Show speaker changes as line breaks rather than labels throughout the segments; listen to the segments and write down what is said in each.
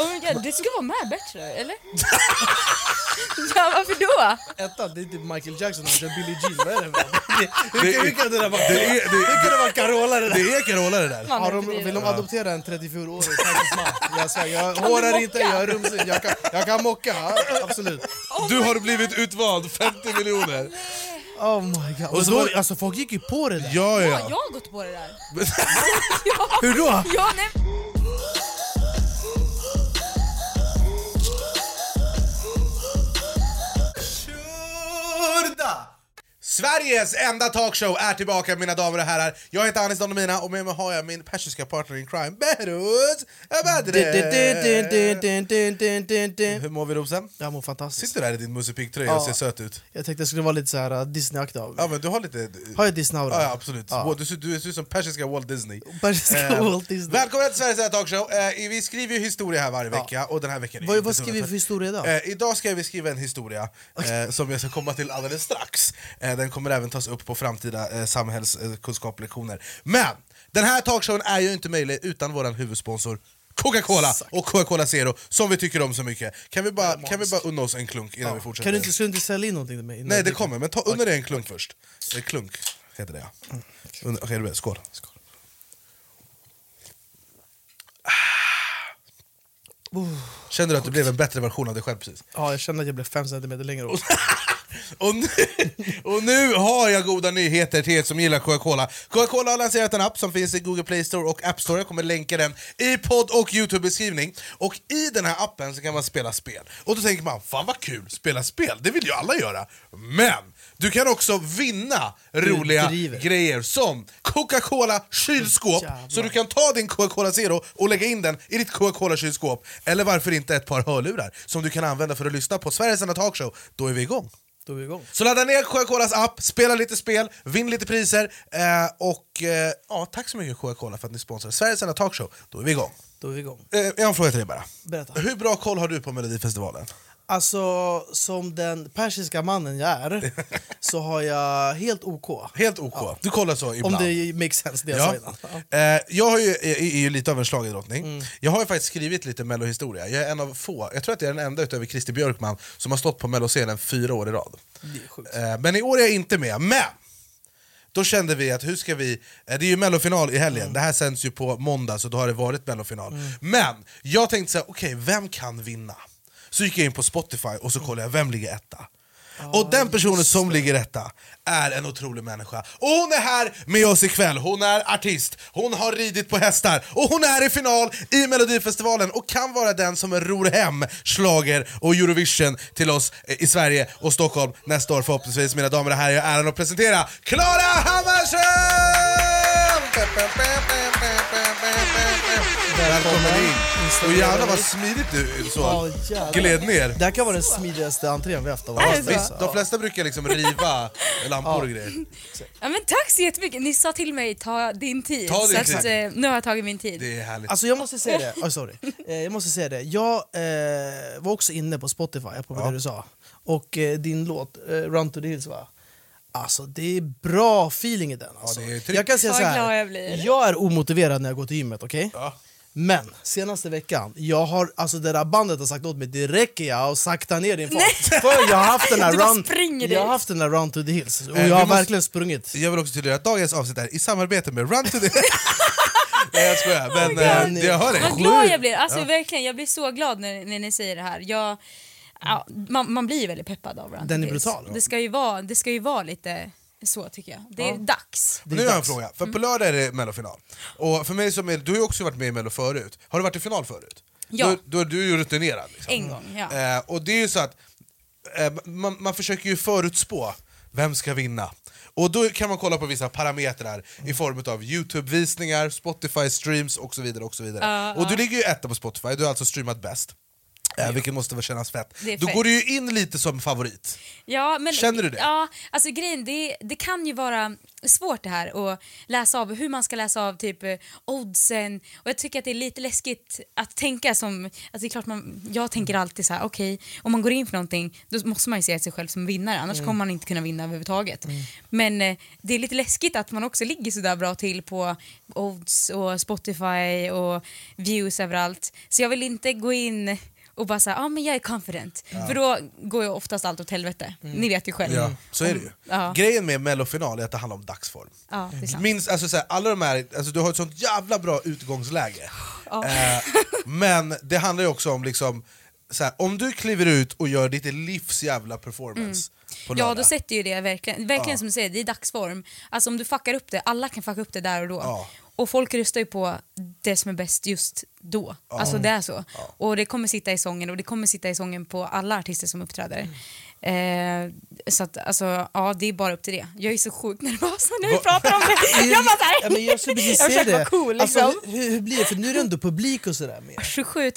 Oh god, det skulle vara med Bachelor, eller? ja, varför då?
Ettan, det är typ Michael Jackson när han kör Billie Jean. Vad är det för
Det,
Hur- hur kan det där vara?
det, är, det,
Det var Carola det där.
det är Carola det där.
Man
Har de,
överdriver.
vill de adoptera en 34-årig Tigers man? Jag, svär, jag hårar
mocka?
inte, jag är rumslig, jag kan, jag kan mocka. ja, Absolut.
Du har blivit utvald, 50 miljoner.
Oh my god. Och
så
då,
var-
alltså, folk gick ju på det där.
Ja,
Ja,
ja.
jag har gått på det där.
Hur då?
Ja, nej.
Sveriges enda talkshow är tillbaka mina damer och herrar. Jag heter Anis Don Demina och med mig har jag min persiska partner in crime, Behrouz Abadre. Hur mår vi Rosen?
Jag mår fantastiskt.
Sitter du där i din Musse Pigg-tröja och
Ja.
ser söt ut?
Jag tänkte det skulle vara lite så här uh, Disney-aktig av mig.
Ja men du har lite...
Har jag Disney-aura?
Ja, ja absolut.
Ja.
Du, ser- du ser ut som persiska Walt Disney.
Persiska
Eh,
Walt Disney.
Välkomna till Sveriges enda talkshow. Eh, vi skriver ju historia här varje vecka och den här veckan är
Vad,
inte
vad
så
skriver vi för historia idag?
Eh, idag ska vi skriva en historia eh, som jag ska komma till alldeles strax. Eh, den kommer även tas upp på framtida eh, samhällskunskaplektioner. Men den här talkshowen är ju inte möjlig utan vår huvudsponsor Coca-Cola och Coca-Cola Zero som vi tycker om så mycket. Kan vi bara, kan vi bara unna oss en klunk innan vi fortsätter?
Kan du inte, ska du inte sälja in någonting till mig?
Nej det kommer, men ta under dig en klunk först. Eh, klunk heter det ja. Under- Mm, Okej, är du beredd? Skål. Skål. Ah. Känner du att du blev en bättre version av dig själv precis?
Ja, jag känner att jag blev fem centimeter längre upp.
Och nu, och nu har jag goda nyheter till er som gillar Coca-Cola. Coca-Cola har lanserat en app som finns i Google Play Store och App Store. Jag kommer länka den i podd och Youtube-beskrivning. Och i den här appen så kan man spela spel. Och då tänker man, fan vad kul, spela spel, det vill ju alla göra. Men du kan också vinna roliga
driver.
grejer som Coca-Cola kylskåp,
Jävlar.
så du kan ta din Coca-Cola Zero och lägga in den i ditt Coca-Cola kylskåp. Eller varför inte ett par hörlurar som du kan använda för att lyssna på Sveriges enda talkshow. Då är vi igång.
Då är vi igång.
Så ladda ner Coca-Colas app, spela lite spel, vinn lite priser. Eh, och eh, ja, Tack så mycket Coca-Cola för att ni sponsrar Sveriges enda talkshow. Då är vi igång.
Då är vi igång.
Eh, jag har en fråga till dig bara.
Berätta.
Hur bra koll har du på Melodifestivalen?
Alltså, som den persiska mannen jag är så har jag helt OK.
Helt OK. Du kollar så
Om
ibland.
det makes sense det jag sa innan. Ja. Mm.
Eh, jag har ju, är, är ju lite av en schlagerdrottning. Jag har ju faktiskt skrivit lite mellohistoria. Jag är en av få, jag tror att jag är den enda utöver Christer Björkman som har stått på melloscenen fyra år i rad.
Det är sjukt.
Eh, men i år är jag inte med. Men! Då kände vi att hur ska vi, eh, det är ju mellofinal i helgen, det här sänds ju på måndag så då har det varit mellofinal. Men jag tänkte så här, okej vem kan vinna? Så gick jag in på Spotify och så kollade jag vem ligger etta. och den personen som ligger etta är en otrolig människa. Och hon är här med oss ikväll, hon är artist, hon har ridit på hästar och hon är i final i Melodifestivalen och kan vara den som ror hem slager och Eurovision till oss eh, i Sverige och Stockholm nästa år förhoppningsvis. Mina damer och herrar, jag har äran att presentera Klara Hammarström! Välkommen in! Och jävlar vad smidigt du så
Ja, jävlar.
gled ner.
Det här kan vara den smidigaste entrén vi haft av Alltså,
Är
alla.
det så?
Visst, de flesta brukar liksom riva lampor och grejer.
Ja, men tack så jättemycket. Ni sa till mig ta din tid.
Ta din
så
tid.
Att, eh, nu har jag tagit min tid.
Det är härligt.
Alltså jag måste säga det, oh, sorry. Eh, jag måste säga det, jag eh, var också inne på Spotify, på vad du sa. Och eh, din låt, eh, Run to the Hills va? Alltså det är bra feeling i den. Alltså.
det är tryck.
jag kan säga
Vad
så
glad
här,
jag blir.
är omotiverad när jag går till gymmet, okej?
Ja.
Men senaste veckan, jag har, alltså det där bandet har sagt åt mig det räcker jag och sakta ner din fart. För jag har haft den här
Du bara
run,
springer
jag har
dit.
haft den här run to the hills och
Eh, vi
jag har
måste-
verkligen sprungit.
Jag vill också tydliggöra att dagens avsnitt är i samarbete med Run to the... Nej jag skojar, men eh, det jag hör dig.
Vad glad jag blir. Alltså, verkligen, jag blir så glad när, när ni säger det här. Jag, ja, man, man blir ju väldigt peppad av Run
Den är
This.
brutal.
Det ska, ju vara, det ska ju vara lite så tycker jag. Det är dags. Mm.
är
Nu har jag en
dags.
fråga, för på lördag är det mellofinal. Och för mig som är, du har ju också varit med i mello förut. Har du varit i final förut?
Ja.
Då, då är du ju rutinerad. Liksom.
En gång, ja.
Eh, och det är ju så att eh, man, man försöker ju förutspå vem ska vinna. Och då kan man kolla på vissa parametrar
Mm.
i form av Youtube-visningar, Spotify-streams och så vidare. Och så vidare. och du ligger ju etta på Spotify, du har alltså streamat bäst. eh, vilket måste väl kännas fett.
Det är
Då
fett.
går du ju in lite som favorit.
Ja, men,
Känner du det?
Ja, alltså grejen, det, det kan ju vara svårt det här att läsa av hur man ska läsa av typ eh, oddsen och jag tycker att det är lite läskigt att tänka som, alltså det är klart man, jag tänker alltid så här, okej, om man går in för någonting då måste man ju se sig själv som vinnare annars kommer man inte kunna vinna överhuvudtaget. Men eh, det är lite läskigt att man också ligger så där bra till på odds och Spotify och views överallt. Så jag vill inte gå in och bara säga, ja ah, men jag är confident. För då går ju oftast allt åt helvete. Ni vet ju själv.
Ja, så är det ju.
Mm. Ja.
Grejen med mellofinal är att det handlar om dagsform.
Eh,
Ja, det är sant.
Minst, alltså, så här, alla de här, alltså, du har ett sånt jävla bra utgångsläge.
Ja.
Eh, men det handlar ju också om, liksom, så här, om du kliver ut och gör ditt livs jävla performance på
Mm. Ja,
lördag.
då sätter ju det verkligen, verkligen som du säger, det är dagsform. Alltså om du fuckar upp det, alla kan fucka upp det där och då.
Ja.
Och folk röstar ju på det som är bäst just då. Alltså det är så. Och det kommer sitta i sången och det kommer sitta i sången på alla artister som uppträder.
Mm.
Eh, så att alltså, ja det är bara upp till det. Jag är så sjukt nervös när vi pratar om det. Jag bara såhär,
Ja, men jag skulle precis säga
försöker
det.
vara cool liksom.
alltså, hur, hur blir det? För nu är det ändå publik och sådär med.
27 000.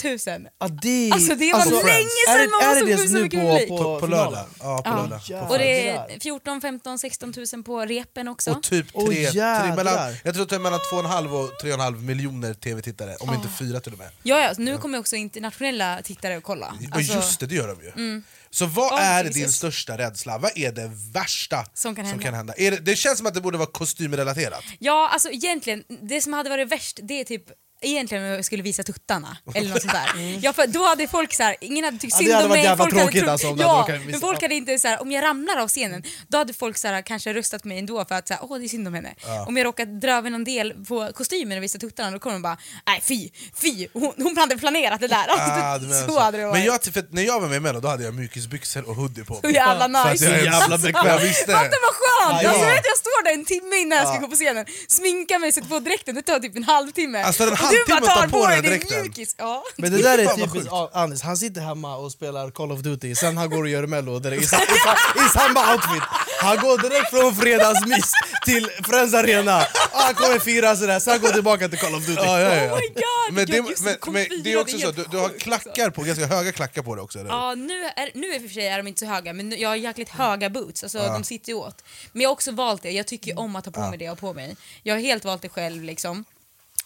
Ja, det,
Alltså, det var länge sedan
är, det-
man var
är
så
det
sjuk
det
så
nu
mycket
på,
publik.
på,
på, på lördag. Ja, på
Ja.
lördag.
Ja.
Och det är
Jävlar.
14, 15, 16 000 på repen också.
Och typ
Åh,
tre, tre,
jävlar.
mellan, jag tror att det är mellan 2,5 och 3,5 miljoner tv-tittare, om inte fyra till och med.
Ja, ja, nu kommer också internationella tittare att kolla.
Och
Alltså, Mm.
just det, det gör de ju. Så vad
Ja,
är
precis.
din största rädsla? Vad är det värsta
Som kan hända.
Är det, det känns som att det borde vara kostymrelaterat.
Ja, alltså egentligen, det som hade varit värst det är typ Egentligen om jag skulle visa tuttarna eller något sånt där. Ja, för då hade folk så här, ingen hade tyckt
Mm.
synd
Ja, det hade
om
varit
mig.
jävla
folk hade
tråkigt
trott-
alltså om du hade
ja,
råkat visa-
men folk hade inte så här, om jag ramlar av scenen då hade folk så här, kanske röstat mig ändå för att så här, åh det är synd om henne. Om jag råkat dra över någon del på kostymen och visa tuttarna då kommer de bara, nej fy, fy, hon, hon hade planerat det där. Alltså,
Ah, du
så,
menar
hade det varit.
Men jag, typ, för när jag var med i Mello då hade jag mjukisbyxor och hoodie på
Så jävla
För att
nice.
jag är
Jävla
jävla
bekväm.
bekväm, visst det.
Fatta vad skönt!
Ja.
Alltså, vet, du, jag står där en timme innan jag ska
Ja.
gå på scenen, sminkar mig, sätter på dräkten, det tar typ en halvtimme.
Alltså, en
och
halvtimme
du bara tar
att ta på
dig
den
din
dräkten.
mjukis. Ja.
Men det där är
Fan, vad
typiskt
sjukt.
ja, Anders, han sitter hemma och spelar Call of Duty, sen han går och gör mello direkt, i, sa- i, sa- i samma outfit. Han går direkt från fredagsmys till Friends Arena, Ah, han kommer fira sådär, sen går han tillbaka till Call of Duty.
Ja, ja, ja.
Oh my god!
Men det,
Gud, just
men, men det är också så,
helt
du, du har
sjukt, alltså.
klackar på, ganska höga klackar på dig också eller hur?
Ja, nu, är, nu i och för sig är de inte så höga, men nu- jag har jäkligt höga boots. Alltså, De sitter ju åt. Men jag har också valt det. Jag tycker ju om att ha på mig det jag har på mig. Jag har helt valt det själv. liksom.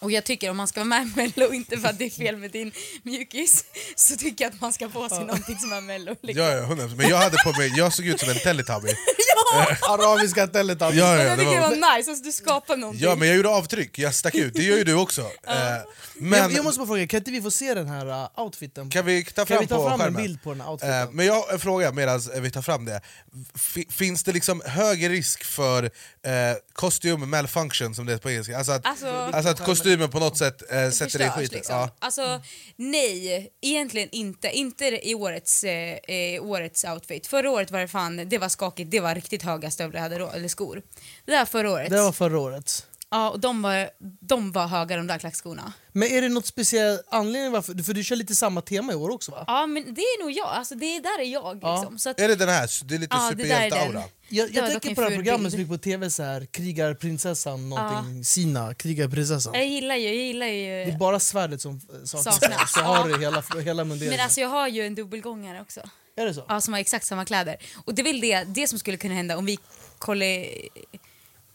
Och jag tycker om man ska vara med i Mello, inte för att det är fel med din mjukis, så tycker jag att man ska få sig någonting som är Mello. Liksom.
Ja, ja, 100%. Men jag hade på mig, jag såg ut som en teletubby.
Ja!
Arabiska tället alltså.
Ja, ja,
jag
det
tycker det
var,
var nice, alltså, du skapar någonting.
ja, men jag gjorde avtryck, jag stack ut, det gör ju du också. Eh, Men
jag, jag måste bara fråga, kan inte vi få se den här uh, outfiten?
kan vi ta
Kan
fram,
vi ta
på
fram en
skärmen?
bild på den här outfiten?
Eh, Men jag har en fråga medan vi tar fram det. F- Finns det liksom hög risk för eh, costume malfunction som det heter på engelska? Alltså att, alltså,
Alltså-
att kostymen på något sätt eh, sätter dig i
Förstörs,
skiten?
liksom.
Ja.
Alltså nej, egentligen inte. Inte i årets, eh, eh, årets outfit. Förra året var det fan, det var skakigt, det var riktigt höga stövlar jag hade då, eller skor. Det där förra året.
Det var förra året.
Ja, och de var, de var höga de där klackskorna.
Men är det något speciell anledning varför? För du kör lite samma tema i år också va?
Ja men det är nog jag, alltså det där är jag
Ja.
liksom. Så att,
Är det den här? Det är lite
Ja, det där är
superhjälte-aura?
den.
Jag,
Det var
jag
dock
tänker
en
på det här
ful
programmet
bild.
som gick på tv, så här, krigarprinsessan någonting, Sina, krigarprinsessan.
jag gillar ju, jag gillar ju.
Det är bara svärdet som eh, saknas,
Saknas.
så har du hela, hela munderingen.
men alltså jag har ju en dubbelgångare också.
är det så?
Ja, som har exakt samma kläder. Och det är väl det, det som skulle kunna hända om vi kollar...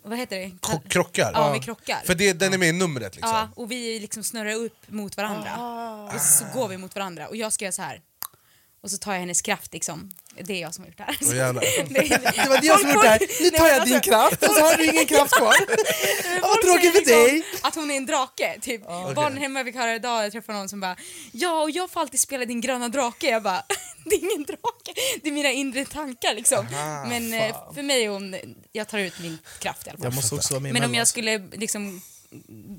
Vad heter det?
Ko- krockar?
Ja, vi krockar.
För det, den är med i numret liksom?
Ja, och vi liksom snurrar upp mot varandra.
Ah.
Och så går vi mot varandra och jag ska göra så här. Och så tar jag hennes kraft liksom. Det är jag som har gjort det här.
Åh, jävlar.
Det var det jag som gjorde det här, nu tar jag
alltså-
din kraft och så har du ingen kraft kvar.
Men
Vad
folk säger
tråkigt
liksom
för dig. Ah,
Att hon är en drake. Typ. Barnen hemma fick höra idag, jag träffade någon som bara “Ja, och jag får alltid spela din gröna drake”. Jag bara “Det är ingen drake, det är mina inre tankar liksom”. Men eh, för mig är hon, jag tar ut min kraft i alla fall.
Jag måste också vara med
Men om
emellan.
jag skulle liksom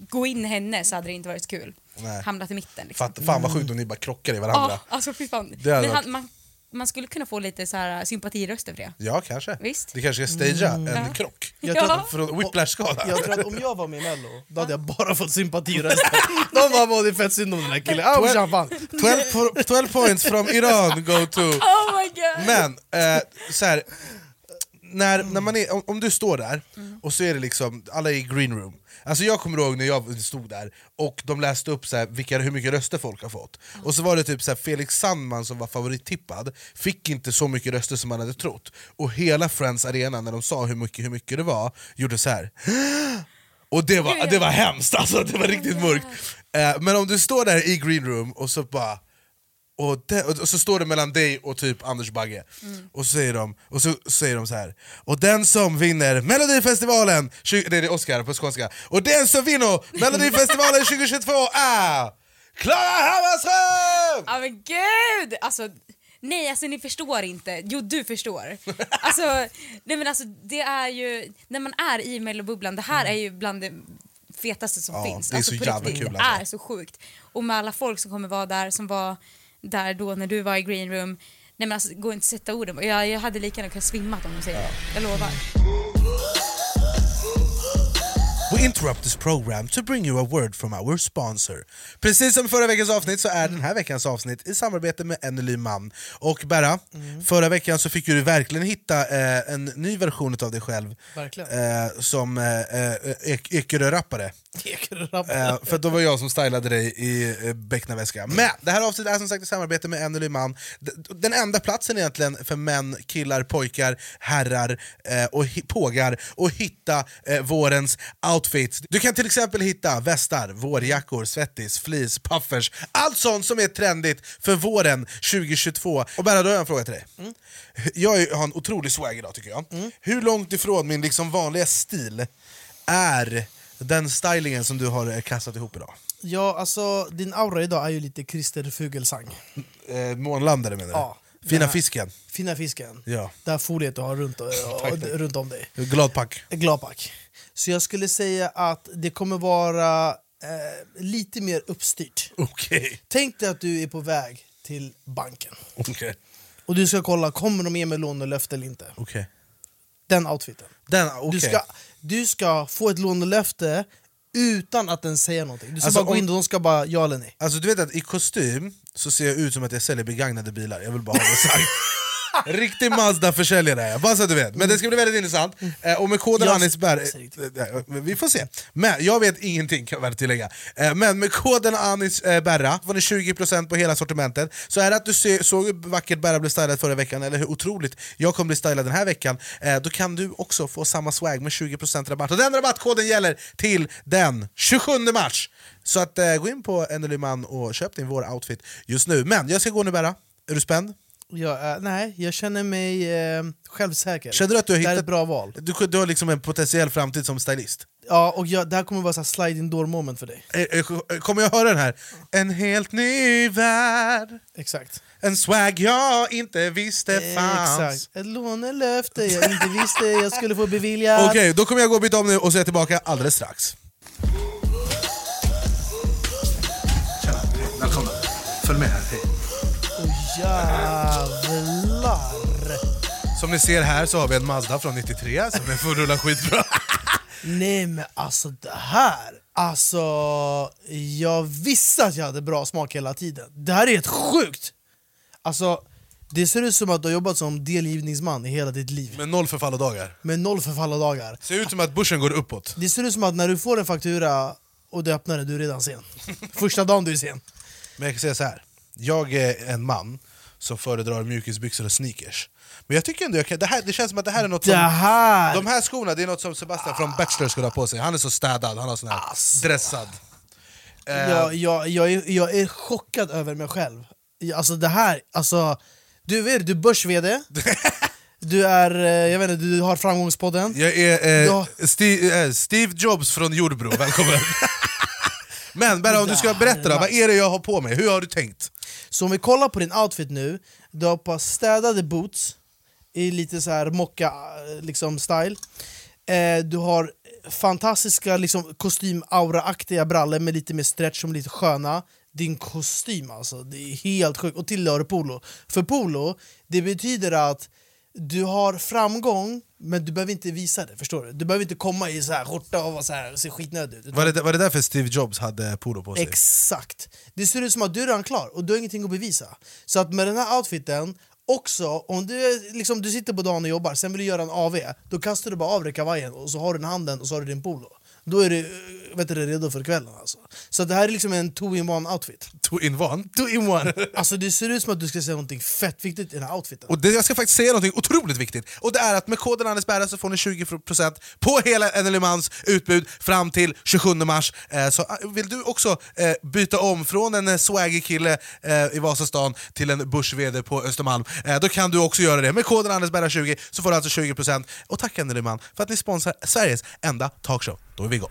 gå in henne så hade det inte varit så kul.
Nej.
Hamnat i mitten liksom.
Fatt, fan vad sjukt om ni bara krockar i varandra.
Ja, alltså fy fan.
Det hade
Men
varit-
han, man, man skulle kunna få lite så här sympatiröster för det.
Ja, kanske.
Visst.
Det kanske ska stagea en
Ja.
krock.
Mm. Jag tror
Ja.
att-
Från whiplash-skada.
Jag tror att om jag var med i Mello, då hade jag bara fått sympatiröster. De bara “Åh, det är fett synd om den här killen, ah, morsan fan”.
12, po- 12 points from Iran go to...
Oh my god!
Men, eh, så här, när, när man är, om, om du står där och så är det liksom, alla är i green room. Alltså jag kommer ihåg när jag stod där och de läste upp så här, vilka, hur mycket röster folk har fått. Och så var det typ så här, Felix Sandman som var favorittippad, fick inte så mycket röster som man hade trott. Och hela Friends Arena, när de sa hur mycket, hur mycket det var, gjorde så här. Och det var, det var hemskt, alltså, det var riktigt mörkt. Eh, men om du står där i green room och så bara och, det, och så står det mellan dig och typ Anders Bagge, och, så säger de, och så säger de så här. Och den som vinner Melodifestivalen, 20, det är det Oscar på skånska, och den som vinner Melodifestivalen 2022 är Klara Hammarström!
Ja men gud! Alltså, nej alltså ni förstår inte. Jo du förstår. Alltså, nej men alltså det är ju, när man är i mellobubblan, det här är ju bland det fetaste som
Mm. Ja,
finns.
det är
alltså,
så
på
jävla
riktigt.
kul,
Det
alltså.
är så sjukt. Och med alla folk som kommer vara där, som var där då när du var i green room. Nej men alltså det går inte att sätta orden på. Jag, jag hade lika gärna kunnat svimma om de säger det. Jag lovar.
We interrupt this program to bring you a word from our sponsor. Precis som förra veckans avsnitt så är den här veckans avsnitt i samarbete med en ny man. Och Berra, förra veckan så fick ju du verkligen hitta eh, en ny version av dig själv
Verkligen.
eh, som eh, eh, Ek- Ekerö-rappare. Eh, för då var jag som stylade dig i eh, Becknarväska. Men det här avsnittet är som sagt i samarbete med en ny man. D- Den enda platsen egentligen för män, killar, pojkar, herrar eh, och hi- pågar att hitta eh, vårens outfits. Du kan till exempel hitta västar, vårjackor, svettis, fleece, puffers, allt sånt som är trendigt för våren 2022. Och Berra, då har jag en fråga till dig. Jag är- har en otrolig swag idag tycker jag. Hur långt ifrån min liksom vanliga stil är den stylingen som du har eh, kastat ihop idag?
Ja, alltså din aura idag är ju lite Christer Fuglesang.
Eh, månlandare menar du?
Ja,
Fina
den här.
fisken?
Fina fisken.
Ja.
Det här foliet du har runt, eh,
Tack, tack.
runt om dig.
Glad pack?
Glapack. Så jag skulle säga att det kommer vara eh, lite mer uppstyrt.
Okej.
Tänk dig att du är på väg till banken.
Okej.
Och du ska kolla, kommer de ge mig lånelöfte eller inte?
Okej.
Den outfiten.
Den, okej.
Du, ska, du ska få ett lånelöfte utan att den säger någonting. Du ska
Alltså,
bara gå
om-
in och de ska bara ja eller nej.
Alltså du vet att i kostym så ser jag ut som att jag säljer begagnade bilar, jag vill bara ha det sagt. Riktig Mazda-försäljare är jag, bara så att du vet. Men det ska bli väldigt intressant. Eh, Och med koden
Mm. Jag-
Anisberg...
ser riktigt.
eh, eh, Vi får se. Men jag vet ingenting kan jag väl tillägga. Eh, Men med koden ANISBERRA får ni 20% på hela sortimentet. Så är det att du se- såg hur vackert Berra blev stylad förra veckan, eller hur otroligt jag kommer bli stylad den här veckan, eh, då kan du också få samma swag med 20% rabatt. Och den rabattkoden gäller till den 27 mars! Så att eh, gå in på Enderly Man och köp din vår outfit just nu. Men jag ska gå nu Berra, är du spänd?
Jag, är- nej, jag känner mig eh, självsäker.
Känner du att du har
Det här är
hittat...
ett bra val.
Du, du har liksom en potentiell framtid som stylist.
Ja, och jag, det här kommer vara så här sliding door moment för dig.
Eh, eh, Kommer jag höra den här? En helt ny värld,
Exakt.
en swag jag inte visste fanns.
Exakt. Ett lånelöfte jag inte visste jag skulle få beviljat.
Okej, då kommer jag gå och byta om nu och så är jag tillbaka alldeles strax. Tjena, välkomna. Följ med här.
Åh, jävlar!
Som ni ser här så har vi en Mazda från 93 som är full rulla skitbra.
Nej men alltså det här! Alltså, jag visste att jag hade bra smak hela tiden. Det här är helt sjukt! Alltså, det ser ut som att du har jobbat som delgivningsman i hela ditt liv.
Med noll förfallodagar.
Med noll förfallodagar.
Ser ut som att börsen går uppåt.
Det ser ut som att när du får en faktura och du öppnar den, du är redan sen. Första dagen du är sen.
Men jag kan säga så här. jag är en man som föredrar mjukisbyxor och sneakers. Men jag tycker ändå, jag kan, det, här, det känns som att det här är något
Det
som...
här!
De här skorna det är något som Sebastian från Bachelor skulle ha på sig. Han är så städad, han har sån här
Alltså.
dressad. Eh,
Jag, jag, jag, är, jag är chockad över mig själv. Jag- Alltså det här, alltså... Du är, du är börs-vd, du är, eh, jag vet inte, du har framgångspodden.
Jag är eh,
Ja.
Steve, eh, Steve Jobs från Jordbro, välkommen! Men Berra, om du ska berätta då, vad är det jag har på mig? Hur har du tänkt?
Så om vi kollar på din outfit nu, du har på städade boots i lite så här mocka eh, liksom, style. Eh, du har fantastiska liksom, kostymaura-aktiga brallor med lite mer stretch som är lite sköna. Din kostym alltså, det är helt sjukt. Och tillhör polo. För polo, det betyder att du har framgång men du behöver inte visa det, förstår du? Du behöver inte komma i så här skjorta och vara så här, se skitnödig ut. utan-
Var det, var det därför Steve Jobs hade polo på sig?
Exakt! Det ser ut som att du är redan klar och du har ingenting att bevisa. Så att med den här outfiten också, om du, är- liksom, du sitter på dagen och jobbar, sen vill du göra en AV då kastar du bara av dig kavajen och så har du den i handen och så har du din polo. Då är du eh, vet du, det, redo för kvällen. Alltså. Så det här är liksom en two-in-one-outfit.
Two in one.
Two-in-one! Alltså det ser ut som att du ska säga något fett viktigt i den här outfiten.
Och det, jag ska faktiskt säga något otroligt viktigt. Och det är att med koden Anders Berra så får ni 20% på hela Enelimans utbud fram till 27 mars. Eh, så eh, vill du också eh, byta om från en eh, swaggig kille eh, i Vasastan till en börs-VD på Östermalm, eh, då kan du också göra det. Med koden Anders Berra 20 så får du alltså 20%. Och tack Eneliman för att ni sponsrar Sveriges enda talkshow. Då är vi igång.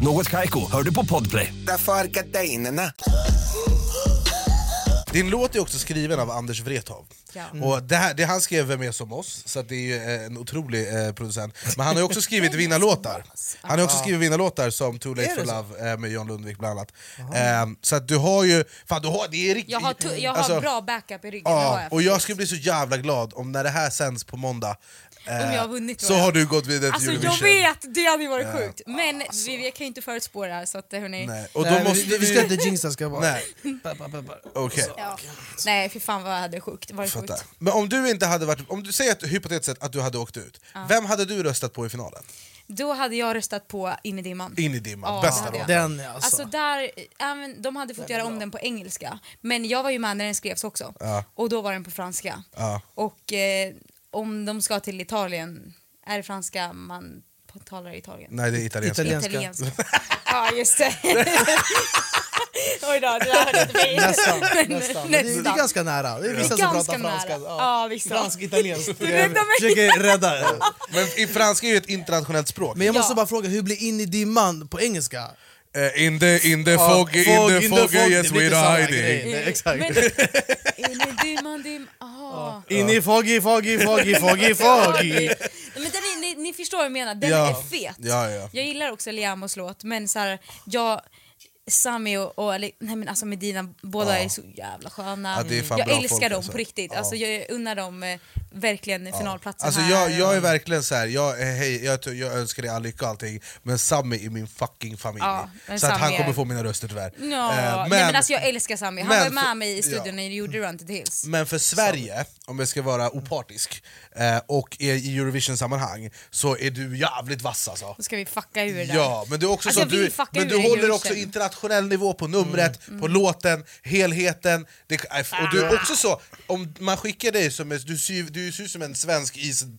Något Kaiko, hör du på Podplay.
Därför är gardinerna.
Din låt är också skriven av Anders Wrethov.
Ja.
Och det, här, det han skrev Vem är som oss, så att det är ju eh, en otrolig eh, producent. Men han har ju också skrivit vinnarlåtar. Han har också skrivit vinnarlåtar som Too late
Är det
for
så?
love eh, med John Lundvik bland annat. Eh, så att du har ju... Fan, du har, det är riktigt,
Jag har, tu- jag har
alltså,
bra backup i ryggen. det har
Ja,
jag
och jag
faktiskt.
skulle bli så jävla glad om när det här sänds på måndag eh,
Om jag har vunnit,
så
tror jag.
har du gått vidare till
Alltså jag
Eurovision.
vet, det hade ju varit sjukt. Men vi, vi kan ju inte förutspåra så att hörni. Nej,
Alltså. Nej, och då
Nej, men
måste
vi,
vi...
vi ska inte jinxa, ska jag bara...
Nej,
Peppar, peppar.
okej.
ja. Nej för fan vad jag hade sjukt. Var det sjukt?
Fattar. Men om du inte hade varit... Om du säger att, hypotetiskt sett att du hade åkt ut, vem hade du röstat på i finalen?
Då hade jag röstat på In i dimman.
In i dimman,
Ja, det
bästa
hade
låten.
jag.
Den alltså.
Alltså där, även, de hade fått göra om den på engelska, men jag var ju med när den skrevs också. Och då var den på franska.
Ja.
Och eh, om de ska till Italien, är det franska man talar i Italien?
Nej det är italienska.
Italien-
Italienska.
Italienska.
ja, just det. Oj då, det där hörde inte vi.
Nästan. nästan. Men Det, det är
Nästan.
ganska nära. Det är vissa
Det är
som
ganska
pratar franska.
nära. Ja, vissa.
Fransk-italienskt.
räddar mig.
Jag försöker rädda. er.
Men i franska är ju ett internationellt språk.
Men jag måste
Ja.
bara fråga, hur blir in i dimman på engelska?
Eh, in the, in the
Ja,
fog, in the fog, yes
Det blir
we
inte
are
samma
hiding.
Mm.
grej. Nej, Exakt.
Men, in i dimman, dim... Aha.
In i foggy, foggy, foggy, foggy, foggy.
Men den är, ni, ni förstår vad jag menar, den
Ja.
är fet.
Ja, ja.
Jag gillar också Liamos låt men så här, jag, Sami och, och eller, nej men alltså Medina, båda är så jävla sköna.
Ja, det är fan
jag
bra
älskar
folk,
dem
alltså.
på riktigt, alltså, jag unnar dem eh, verkligen finalplatsen
Alltså
här.
jag, jag är
och-
verkligen så här. Jag, eh, hej, jag, t- jag önskar dig all lycka och allting, men Sammy är min fucking familj.
Ja, men
så att han
Sammy är-
kommer få mina röster tyvärr.
Ja,
Eh,
men, nej, men alltså jag älskar Sami, han
men
var ju
för-
med mig i
ja.
studion när jag gjorde Run to the Hills.
Men för Sverige, om jag ska vara opartisk, eh, och är i Eurovision-sammanhang så är du jävligt vass alltså.
Då ska vi fucka ur det där.
Ja, men du, är också
Alltså,
så
jag vill
du,
fucka
men
ur
du
det i
håller
duschen.
också internationell nivå på numret,
Mm,
på låten, helheten. Det, och
Ah.
du är också så, om man skickar dig som en- du ser, du ser ut som en svensk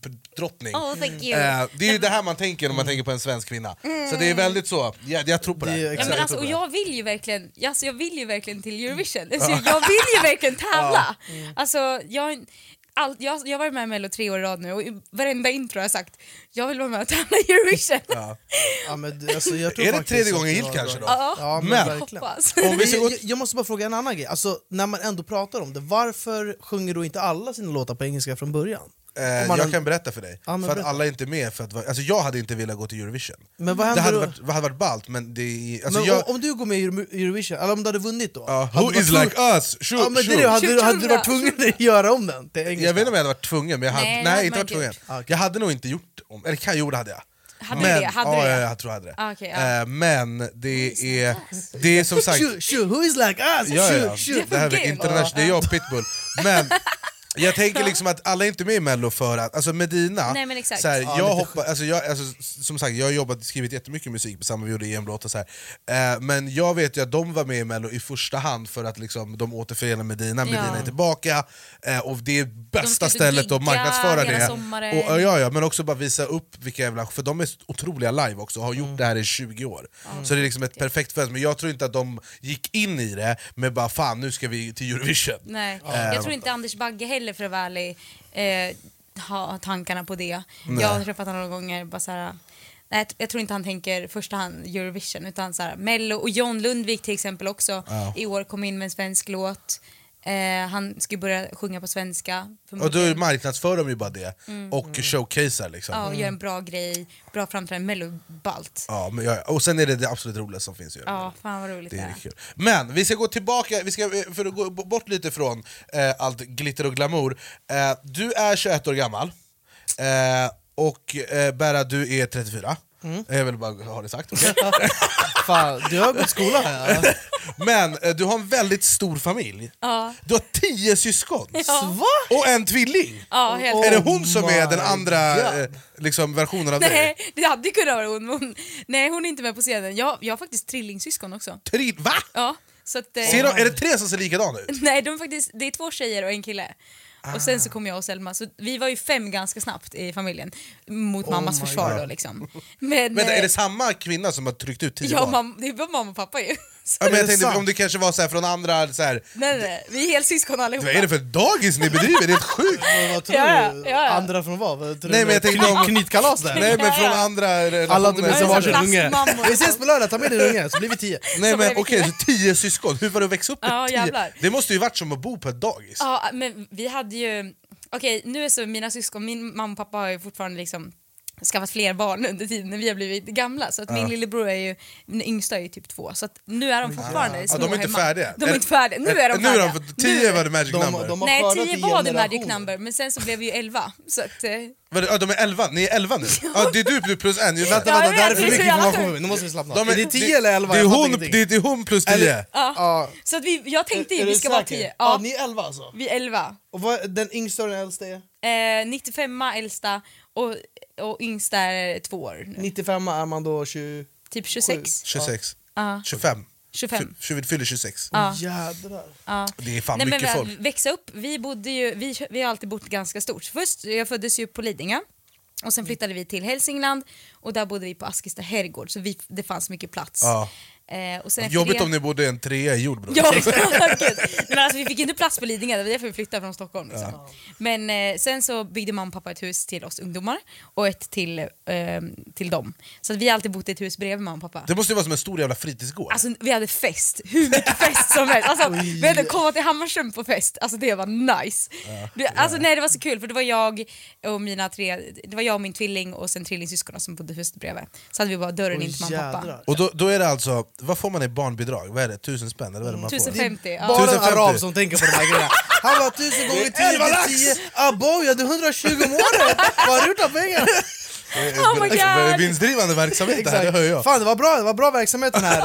isdrottning.
Oh, thank you. Mm.
Eh, det är ju det här man tänker om man tänker på en svensk kvinna. Så det är väldigt så, jag, jag tror på det. här.
Det
Ja,
är exakt.
men
Jag
alltså,
tror
och
på
jag vill ju verkligen alltså, jag vill ju verkligen till Eurovision. Alltså, jag vill ju verkligen tävla. Alltså, jag, all, jag, jag har varit med i Mello tre år i rad nu och i varenda intro har jag sagt jag vill vara med och tävla i Eurovision. Ja,
Ja, men, du, alltså, jag tror
Är det
faktiskt
tredje
att
gången
det
gillt
var
kanske
bra.
då?
Ja, men,
Men-
verkligen.
Hoppas.
Om vi ska gå-
jag, jag måste bara fråga en annan grej. Alltså, när man ändå pratar om det, varför sjunger då inte alla sina låtar på engelska från början?
det.
Om
Eh,
man-
jag kan berätta för dig,
Ja, men
för att
berätta.
alla är inte med. För att, va- alltså jag hade inte velat gå till Eurovision.
Men vad
det
händer
hade
då?
varit, hade varit ballt, men det är... Alltså
men
jag,
om, om du går med i Euro- Eurovision, eller om du hade vunnit då?
Ja,
hade
who
du
is
varit
like
tvungen-
us? Shoot,
Ja, men det är
shoot.
det, hade, du, hade du varit
Tjugohundra.
tvungen att göra om den till engelska?
Jag vet inte om jag hade varit tvungen, men jag hade,
Nej,
nej,
det hade
inte
man
varit
inte
tvungen.
gjort.
Ah, okej.
Jag hade nog inte gjort om, eller kan jag gjorde hade jag.
Hade du
men,
det? Hade
ja,
du det?
Ja, jag tror jag hade det.
Ah, okej, ja.
Eh, men det är, det är som sagt...
Shoo, shoo, who is like us?
Ja, ja,
Shoo,
ja.
shoo.
Alltså, Det här är
Game.
internationellt, det är jag och pitbull. Men jag tänker liksom att alla är inte med i mello för att, alltså Medina,
Nej, men exakt.
så här,
Ja, lite
jag hoppa, alltså jag, alltså, som sagt jag har jobbat, skrivit jättemycket musik på samma vi gjorde EM-låtar, så här. Eh, men jag vet ju att de var med i mello i första hand för att liksom, de återförenar Medina, Medina
Ja.
är tillbaka, eh, och det är bästa
ut och
stället att
gigga
marknadsföra
hela
det.
sommaren.
Och, och, ja, ja, men också bara visa upp vilka jävla, för de är så otroliga live också, och har gjort
Mm.
det här i 20 år. Så det är liksom ett perfekt fönster, men jag tror inte att de gick in i det med bara fan nu ska vi till Eurovision.
Nej. Jag tror inte Anders Bagge heller för att vara ärlig eh, har tankarna på det. Jag har träffat honom några gånger. Bara så här, nej, jag- jag tror inte han tänker i första hand Eurovision utan så här, Mello och John Lundvik till exempel också i år kom in med en svensk låt. Eh, han ska ju börja sjunga på svenska.
Och då
förmodligen.
marknadsför de ju bara det och showcasear liksom.
Mm. Ja, och gör en bra grej, bra framträdande, mellobalt.
Ja, men jag, och sen är det det absolut roligaste som finns. Ju.
Ja, fan vad roligt
Det
det
är
är.
kul. Men vi ska gå tillbaka, vi ska, eh, för att gå bort lite från eh, allt glitter och glamour. Eh, du är 21 år gammal, eh, och eh, Berra du är 34.
Mm.
Jag vill bara ha det sagt. okej?
Fan, du har gått skola här.
Men eh, du har en väldigt stor familj.
Ja.
Du har tio syskon
Ja.
och en tvilling.
Ja, helt
Är det
Oh
hon som är den
my
andra
God.
eh, liksom, versionen av dig?
Nej, det hade kunnat vara hon. men hon. Nej, hon är inte med på scenen. Jag, jag har faktiskt trillingsyskon också.
Tri- Va?
Ja, så att, eh,
Ser de, är det tre som ser likadana ut?
Nej, de är faktiskt, det är två tjejer och en kille. Och sen
Ah.
så kom jag och Selma, så vi var ju fem ganska snabbt i familjen. Mot
Oh
mammas försvar då liksom. Men,
Men är
eh,
det samma kvinna som har tryckt ut tio
ja,
barn?
mam- det var mamma och pappa ju. Så,
Ja, men
Är
jag
det
tänkte
sant?
om det kanske var så här från andra, så här,
nej, nej, vi är helsyskon allihopa.
vad är det för dagis ni bedriver? Det är helt sjukt!
Vad, vad tror
Ja, ja,
du?
ja, ja.
Andra från vad? vad tror
Nej,
du?
men jag tänkte om-
Knytkalas där?
Nej men från
Ja, ja.
andra
Alla tog med sig
Ja, varsin.
relationer.
Alltså,
varsin
plastmammor.
unge.
unge.
Vi ses på lördag, ta med dig ungen så blir vi tio.
Nej men
är det
okej,
kul.
så tio syskon, hur var det att växa upp med
Ja,
tio?
jävlar.
Det måste ju varit som att bo på ett dagis.
Ja, men vi hade ju... Okej, nu är så mina syskon, min mamma och pappa har ju fortfarande liksom skaffat fler barn under tiden när vi har blivit gamla. Så att
Ah.
min lillebror är ju, den yngsta är ju typ två. Så att nu är de fortfarande
Ah. Ja,
små
de är inte
hemma.
färdiga.
De är inte färdiga. Nu är de
nu är
färdiga.
de, för tio var det magic
De-
number.
de har
Nej,
skördat
tio
i
var the magic
generationer.
number, men sen så blev vi ju elva. Så att, eh,
Vadå, ja, de är elva, ni är elva nu? Ja, det är du plus en, ju, vänta,
Ja,
vänta,
jag
där
vet,
är för
det är
mycket
så jävla
information.
sjukt.
Nu måste vi slappna
De
av. Är det tio eller elva?
Det är
Jag fattar
hon,
ingenting.
det är, det är hon plus tio.
ja.
Ja.
Så att vi, jag tänkte ju
Är
vi
du
ska vara
säker?
tio.
Ja,
Ja,
ni är elva alltså?
vi är elva.
Och vad, den yngsta och den äldsta är?
Eh, 95 äldsta och, och yngsta är två år nu.
95 är man då 20...
Typ 26.
26,
Ja.
25,
25.
20, fyller 26.
Ja.
Jädrar.
Det är fan
Nej, men
mycket
väl,
folk.
växa upp, vi bodde ju, vi, vi har alltid bott ganska stort. Först, jag föddes ju på Lidingö och
Mm.
sen flyttade vi till Hälsingland och där bodde vi på Askista herrgård så vi, det fanns mycket plats.
Ja.
Eh, och sen efter
Jobbigt
det-
om ni bodde i en trea i jordbruk.
Ja, exakt. Nej, Men alltså, vi fick inte plats på Lidingö, det var därför vi flyttade från Stockholm. Liksom. Men eh, sen så byggde mamma och pappa ett hus till oss ungdomar och ett till, eh, till dem. Så att vi har alltid bott i ett hus bredvid mamma och pappa.
Det måste ju vara som en stor jävla fritidsgård.
Alltså vi hade fest, hur mycket fest som helst. Alltså, vi hade komma till Hammarström på fest, alltså det var nice. Det, alltså nej det var så kul för det var jag och mina tre, det var jag och min tvilling och sen trillingsyskonen som bodde huset bredvid. Så hade vi bara dörren in till mamma och pappa.
jädrar.
Och då, då är det alltså, vad får man i barnbarnbidrag? Vad är det, tusen spänn? Eller vad är Alltså, det man
1050,
får?
ja.
Bara en
1050.
arab som tänker på de här grejerna. Han bara 1000 gånger 10
Det är elva lax.
till 10. Abow, jag hade 120 om året. Vad har du gjort av pengarna?
Oh my
Alltså, Det är
god!
Vinstdrivande verksamhet det här, det
Exakt.
hör jag.
Fan det var bra, det var bra verksamhet den här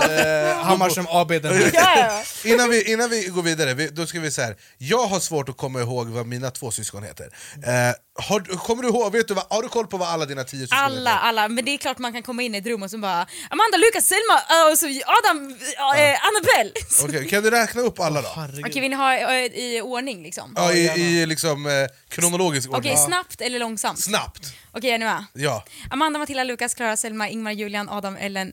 eh, Hammarström AB. Den här.
Ja,
Innan vi, innan vi går vidare, vi, då ska vi så här. jag har svårt att komma ihåg vad mina två syskon heter. Eh, har, du- kommer du ihåg, vet du vad, har du koll på vad alla dina tio syskon
Alla,
heter?
alla, men det är klart man kan komma in i ett rum och så bara Amanda, Lukas, Selma, eh, och så Adam, ja. eh, Annabelle. Så-
Okej, kan du räkna upp alla då?
Herregud.
Okej vill ni ha eh, i ordning liksom?
Ja, i, i liksom eh, kronologisk
Okej
ordning.
snabbt eller långsamt?
Snabbt!
Okej är ni med?
Ja.
Amanda, Matilda, Lukas, Klara, Selma, Ingmar, Julian, Adam, Ellen,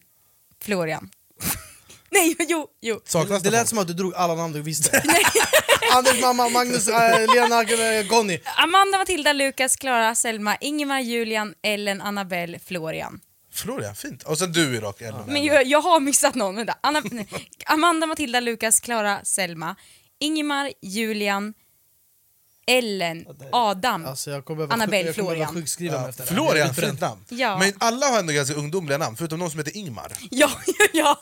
Florian. Nej, jo, jo.
Saknas
Det
det
lät som att du drog alla namn du visste. Anders mamma, Magnus, eh, Lena, eh, Conny.
Amanda, Matilda, Lukas, Klara, Selma, Ingmar, Julian, Ellen, Annabelle, Florian.
Florian, fint. Och sen du Irak. Ja.
Men jag, jag har missat någon. Vänta. Anna, nej. Amanda, Matilda, Lukas, Klara, Selma, Ingmar, Julian, Ellen, Adam.
Alltså, jag kommer behöva,
Annabelle,
jag kommer behöva
Florian.
sjukskriva mig efter det här.
Florian, fint namn.
Ja.
Men alla har ändå ganska ungdomliga namn, förutom någon som heter Ingmar.
Ja, ja, ja,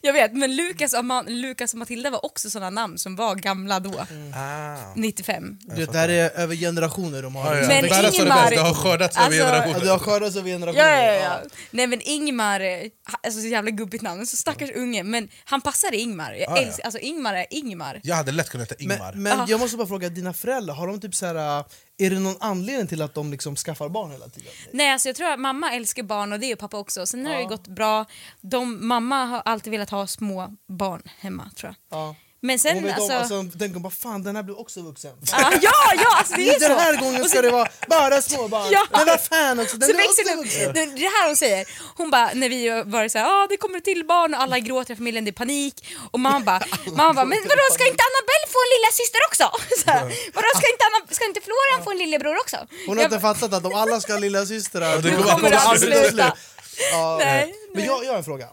jag vet. Men Lukas och, Ma- Lukas och Matilda var också sådana namn som var gamla då,
Ah.
95.
Du vet, det här är över generationer de har.
Ja, ja.
Men
Bära sa det
Ingemar-
bäst, Det har skördats över
Alltså-
Ja,
generationer.
du har skördats över generationer.
Ja, ja, ja. Nej men Ingmar, eh, alltså så jävla gubbigt namn, en så stackars unge men han passar i Ingmar. Jag
Ja, ja.
älskar, alltså Ingmar är Ingmar.
Jag hade lätt kunnat heta Ingmar.
Men,
Ah.
men jag måste bara fråga, dina föräldrar, har de typ så här, är det någon anledning till att de liksom skaffar barn hela tiden?
Nej alltså jag tror att mamma älskar barn och det gör pappa också. Sen har det ju gått bra. De, mamma har alltid velat ha små barn hemma tror jag.
Ja.
Men
Hon
sen
vet
alltså...
om, alltså, tänker hon bara fan den här blir också vuxen.
Ah, ja, ja alltså det är ju så.
Den här gången ska det vara bara småbarn.
Ja.
Men vad fan också, den
Så
är
växer
också
det,
vuxen.
upp. det det här hon säger. Hon bara, när vi har varit såhär, ah, det kommer till barn och alla gråter i familjen, det är panik. Och mamma bara, mamma bara men vadå ska inte Annabelle få en lilla syster också? Så här, vadå ska inte, Anna, ska inte Florian få en lillebror också?
Hon har
Jag
inte
bara,
fattat att om alla ska ha lillasystrar,
det
då
kommer
kommer det
aldrig
aldrig
sluta.
slut. Ja,
Nej, Mhm.
Men jag, jag har en fråga.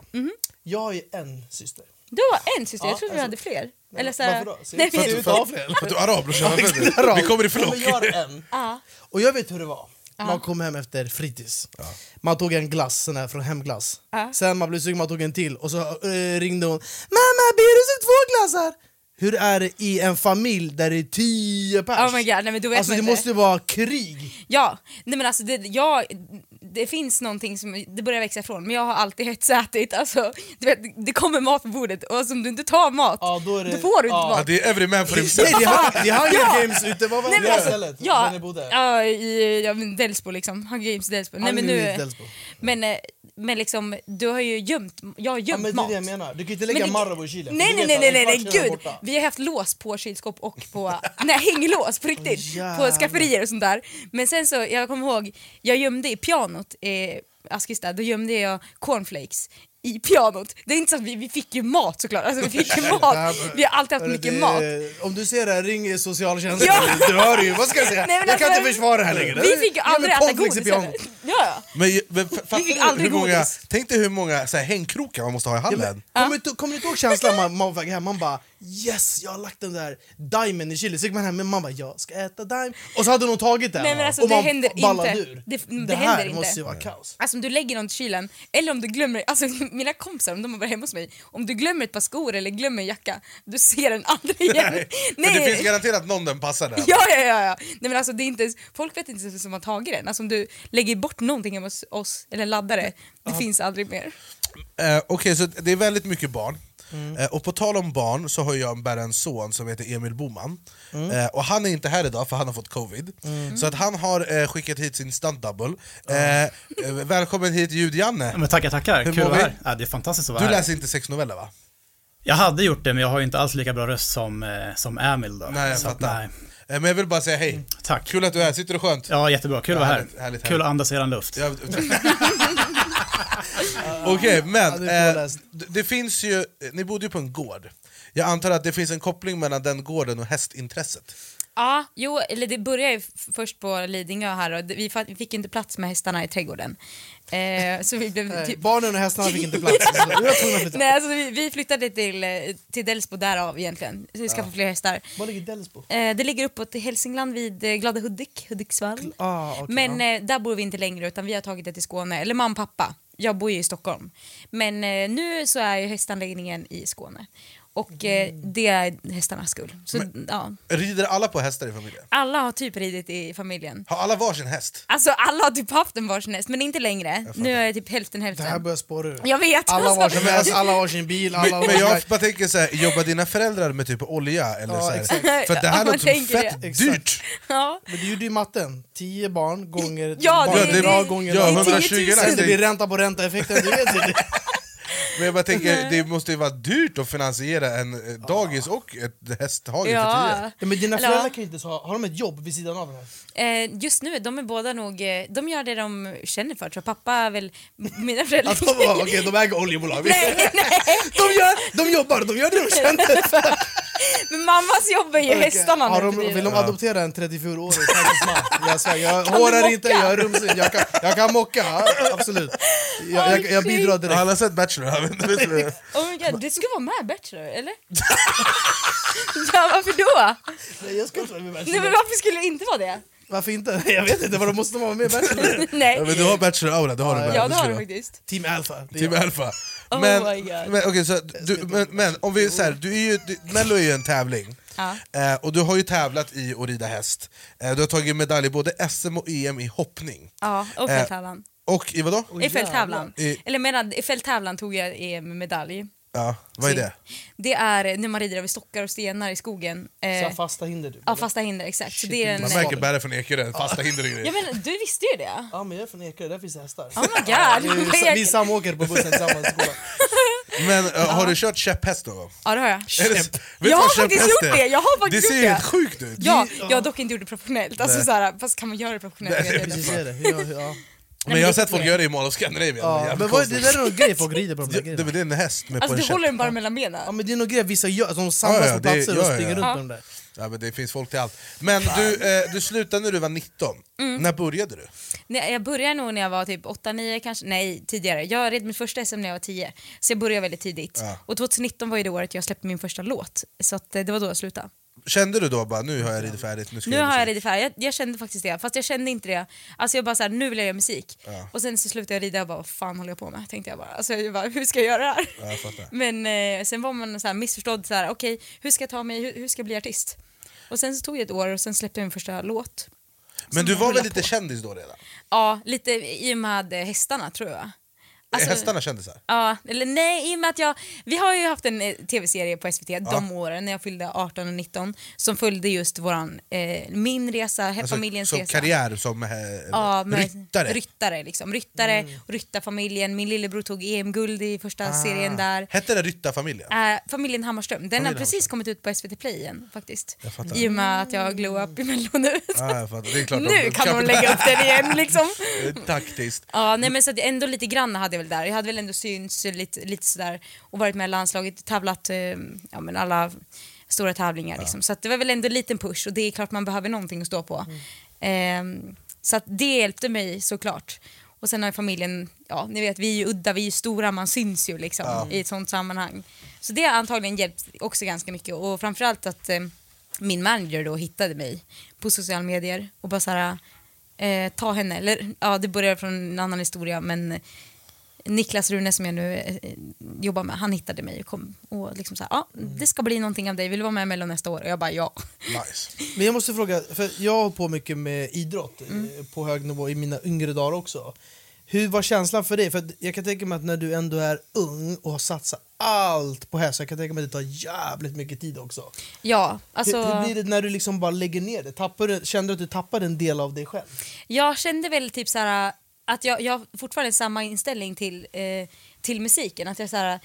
Jag har ju en syster.
Du har en syster,
Ja,
jag trodde du
alltså-
hade fler. Eller så här,
Varför då? Ser-
Nej,
För att
men-
du tar fler?
För att du är arab brorsan,
Ja,
vad
exakt,
menar du?
arab.
vi kommer i
Ja,
flock.
men gör en.
Ja.
Och jag vet hur det var. Man kom hem efter fritids. Man tog en glass sån här, från Hemglass. Sen man blev sugen, man tog en till och så eh, ringde hon. Mamma, blir det så två glassar? Hur är det i en familj där det är tio pers?
Oh my God, nej, men då vet
alltså,
man
det
inte.
måste ju vara krig.
Ja, nej men alltså det, jag, det finns någonting som det börjar växa ifrån men jag har alltid hetsätit. Alltså, du vet, det kommer mat på bordet och om du inte tar mat
Ja, då är det-
får du inte
ja.
Ja,
mat.
det är every man for himself.
Nej, det är, det är Hunger Games ute, vad var
Nej, men
det
alltså,
stället? där
ja,
ni bodde?
ja, i ja, men Delsbo liksom. Hunger Games Delsbo. Nej, men,
Hunger Games
nu,
Delsbo.
men, eh, men liksom, du har ju gömt, jag har gömt
Ja, men det är
mat.
det jag menar. Du kan ju inte lägga
Men det-
Marabou i kylen.
Nej
för
nej
du
nej
vet
nej,
att
nej,
en kvart sedan är
gud!
borta.
Vi har haft lås på kylskåp och på, nej hänglås på riktigt,
Åh,
på skafferier och sånt där. Men sen så, jag kommer ihåg, jag gömde i pianot, eh, Askista, då gömde jag cornflakes i pianot. Det är inte så att vi, vi fick ju mat såklart, alltså vi fick ju mat. Vi har alltid haft
Hörru,
mycket
det-
mat.
eh, Om du ser det här, ring socialtjänsten.
Ja.
Du hör ju, vad ska jag säga?
Nej, men
jag kan
alltså,
inte försvara det här längre.
Vi fick ju
Jag
aldrig
vill
äta
cornflakes
godis
i piano.
heller. Ja, ja.
Men, men f- fattar
fick
ni
aldrig
hur många,
godis.
tänk dig hur många så här, hängkrokar man måste ha i hallen.
Kommer du inte- kommer du inte ihåg känslan man, man var hem? Man bara yes, jag har lagt den där dimen i chili. Så gick man hem och man bara jag ska äta dime. Och så hade någon tagit den.
Nej, men alltså,
och
det
man
händer
ballade
inte.
Ur.
Det- det
här
händer inte.
måste ju vara kaos.
Alltså om du lägger något i kylen, eller om du glömmer, alltså mina kompisar om de har varit hemma hos mig, om du glömmer ett par skor eller glömmer en jacka, du ser den aldrig igen.
Nej. Men det finns garanterat någon den passar där.
Ja, ja, ja, ja. Nej, men alltså, det är inte, ens- folk vet inte ens vem som har tagit den. Alltså, om du lägger bort någonting hemma hos oss, eller laddar det, det finns aldrig mer.
Eh, Okej, så det är väldigt mycket barn.
Mm.
Eh, och på tal om barn så har jag en- bara en son som heter Emil Boman.
Mm.
Eh, och han är inte här idag för han har fått covid. Så att han har eh, skickat hit sin stunt double. Eh, eh, välkommen hit
Ja,
ljud-Janne.
Men tackar, tackar.
Hur mår
Kul att vara
vi?
här. Ja, det är fantastiskt att vara
Du
här.
läser inte sexnoveller va?
Jag hade gjort det, men jag har ju inte alls lika bra röst som, eh, som Emil då.
Nej jag
Så att,
fattar.
nej. Mm,
Eh, men jag vill bara säga hej.
Tack.
Kul att du är här, sitter du skönt?
Ja, jättebra. Kul att vara här.
härligt, härligt,
Kul
härligt.
att andas eran luft.
Ja. Okej, men
det är
eh,
påläst.
det, det finns ju, eh, ni bodde ju på en gård. Jag antar att det finns en koppling mellan den gården och hästintresset.
Ja, jo, eller det började ju f- först på Lidingö här och det- vi fa- fick ju inte plats med hästarna i trädgården. Eh, så vi blev
Nej,
typ...
Barnen och hästarna fick inte plats. Så vi var tvungna att flytta.
Nej, alltså, vi, vi flyttade till, eh, till Delsbo därav egentligen, så vi skaffade fler hästar.
Var ligger Delsbo?
Eh, det ligger uppåt i Hälsingland vid eh, Glada Hudik, Hudiksvall.
ah, okej,
Men eh, där bor vi inte längre utan vi har tagit det till Skåne, eller mamma och pappa. Jag bor ju i Stockholm. Men eh, nu så är ju hästanläggningen i Skåne. Och eh,
Mm.
det är hästarnas skull. Så, ja.
Rider alla på hästar i familjen?
Alla har typ ridit i familjen.
Har alla varsin häst?
Alltså alla har typ haft en varsin häst men inte längre. Nu är det typ hälften
Det här
hälften.
börjar spåra ur.
Jag vet!
Alla har
alltså.
sin häst, alla har sin bil, alla
Men,
har
men
sin-
jag bara tänker så här, jobbar dina föräldrar med typ olja? Eller
Ja,
så här?
exakt.
För att det
Ja,
här
man
låter som
tänker
fett
det.
dyrt.
Ja.
Men du gjorde ju matten. 10 barn gånger
Ja,
barn.
det-
det-
Bra gånger
ja,
barn.
120
10 000.
Sen det blir ränta på ränta-effekten. Du vet ju det.
Men jag bara tänker, det måste ju vara dyrt att finansiera en eh, dagis och ett hästhage för tio.
Ja.
Ja, men dina
Eller,
föräldrar kan ju inte ens ha, har de ett jobb vid sidan av det här?
Eh, just nu, de är båda nog, eh, de gör det de känner för tror jag. Pappa är väl, mina föräldrar...
Att de bara, okej de äger oljebolag.
nej, nej.
De, gör, de jobbar, de gör det de känner.
Men mammas jobb är ju hästarna
Har de,
nu för tiden.
Vill de adoptera en 34-årig persisk man? Jag, svär, jag hårar inte, jag är rumsig, jag kan, jag kan mocka, ja, absolut. Jag, jag, jag bidrar direkt.
Alla har sett Bachelor, jag vet inte. vet du?
Oh my god, du ska vara med i Bachelor, eller? ja, varför då?
Nej, jag ska inte vara med i
Nej, men
Bachelor.
varför skulle du inte vara det?
Varför inte? Jag vet inte, vadå måste man vara med i Bachelor?
Nej,
Ja, men du har Bachelor-aura, det har du väl?
ja det har
skulle
du
jag.
faktiskt.
Team Alpha. det är
Team
jag.
Alpha.
Oh
Men,
my God.
men, okej, så att du, men, men om vi så här, du är ju, du, Mello är ju en tävling,
Ja.
eh, och du har ju tävlat i att rida häst. Eh, du har tagit medalj i både SM och EM i hoppning.
Ja, och
Eh,
fälttävlan.
Och Eh. i vadå?
I fälttävlan.
I-
Eller medan, i fälttävlan tog jag em medalj.
Ja, vad är det?
Det är när man rider över stockar och stenar i skogen.
Så
Eh,
här fasta hinder du.
ja, fasta hinder, exakt. Så det är en,
Man märker bära från Ekerö, fasta hinder och
ja,
grejer.
men du visste ju det.
Ja men jag är från Ekerö, där finns det hästar.
Oh my god.
Vi- Vi samåker på bussen tillsammans i skolan.
Men eh, har du kört käpphäst någon gång?
Ja, det har jag.
Är det- vet du
Jag
vad
har
käpphäst
faktiskt gjort
är?
det, jag har faktiskt
Det ser
gjort
ju
det.
helt sjukt ut!
Ja, jag har dock inte gjort det professionellt. Alltså, så här, fast kan man göra det professionellt?
Nej,
Jag vet
Precis,
inte.
det är det. Hur jag- hur jag-
Men jag har sett folk göra det i Mall of Scandinavia,
Ja, men vad, det där är någon grej folk rider på de där
det, det,
grejerna.
det är en häst med på
Alltså
en
du
käpp.
håller den bara mellan
Ja
benen.
men det är någon grej vissa gör, alltså, de samlas
Ja, ja,
på
det-
platser och
ja, ja.
springer runt
Ja.
med dem där.
Ja, men det finns folk till allt. Men du, eh, du slutade när du var 19.
Mm.
När började du?
Nej, Jag började nog när jag var typ 8-9 kanske, nej tidigare. Jag red mitt första SM när jag var 10, så jag började väldigt tidigt. Och 2019 var ju det året jag släppte min första låt, så att, eh, det var då jag slutade.
Kände du då bara nu har jag ridit färdigt, nu ska
Nu
jag
har jag
göra
ridit färdigt, jag, jag kände faktiskt det, fast jag kände inte det. Alltså jag bara såhär, nu vill jag göra musik. Och sen så slutade jag rida och bara, vad fan håller jag på med? Tänkte jag bara. Alltså jag bara, hur ska jag göra det här?
jag fattar.
Men eh, sen var man så här missförstådd, så här, okej, hur ska jag ta mig, hur, hur ska jag bli artist? Och sen så tog jag ett år och sen släppte jag min första låt.
Men du
som
var
rullar
väl lite
på.
kändis då redan?
Ja, lite i och med eh, hästarna tror jag. Alltså-
är hästarna kändisar?
Ja, eller nej, i och med att jag... Vi har ju haft en eh, tv-serie på SVT de åren när jag fyllde 18 och 19 som följde just våran, eh, min resa, he- familjens
så
resa.
karriär Alltså, som eh,
Ja, med
ryttare? Mm.
Ryttare, liksom. ryttare och ryttarfamiljen. Min lillebror tog EM-guld i första
Ah.
serien där.
Hette det Ryttarfamiljen?
Eh, familjen Hammarström, den har precis
Hammarström.
kommit ut på SVT Play igen faktiskt.
fattar.
I och med att jag har glow up i Mello nu.
Ja, jag fattar. Det är klart de-
nu kan de lägga upp den igen liksom.
Eh, Taktiskt.
Ja, nej men så att ändå lite grann hade jag väl där. Jag hade väl ändå synts lite, lite sådär och varit med i landslaget, tävlat eh, ja, men alla stora tävlingar liksom. Så att det var väl ändå en liten push och det är klart man behöver någonting att stå på. Ehm, så att det hjälpte mig såklart. Och sen har ju familjen, ja ni vet vi är ju udda, vi är ju stora, man syns ju liksom i ett sånt sammanhang. Så det har antagligen hjälpt också ganska mycket och framförallt att eh, min manager då hittade mig på sociala medier och bara såhär eh, ta henne, eller ja det börjar från en annan historia men Niklas Rune som jag nu eh, jobbar med, han hittade mig och kom och liksom sa ja
Mm.
det ska bli någonting av dig, vill du vara med i Mello nästa år? Och jag bara ja.
Nice.
Men jag måste fråga, för jag har hållit på mycket med idrott eh,
Mm.
på hög nivå i mina yngre dagar också. Hur var känslan för dig? För att jag kan tänka mig att när du ändå är ung och har satsat allt på häst, så jag kan tänka mig att det tar jävligt mycket tid också.
Ja, alltså...
Hur, hur blir det när du liksom bara lägger ner det? Tappar du, känner du att du tappade en del av dig själv?
Jag kände väl typ så här att jag, jag har fortfarande samma inställning till, eh, till musiken. Att jag så här,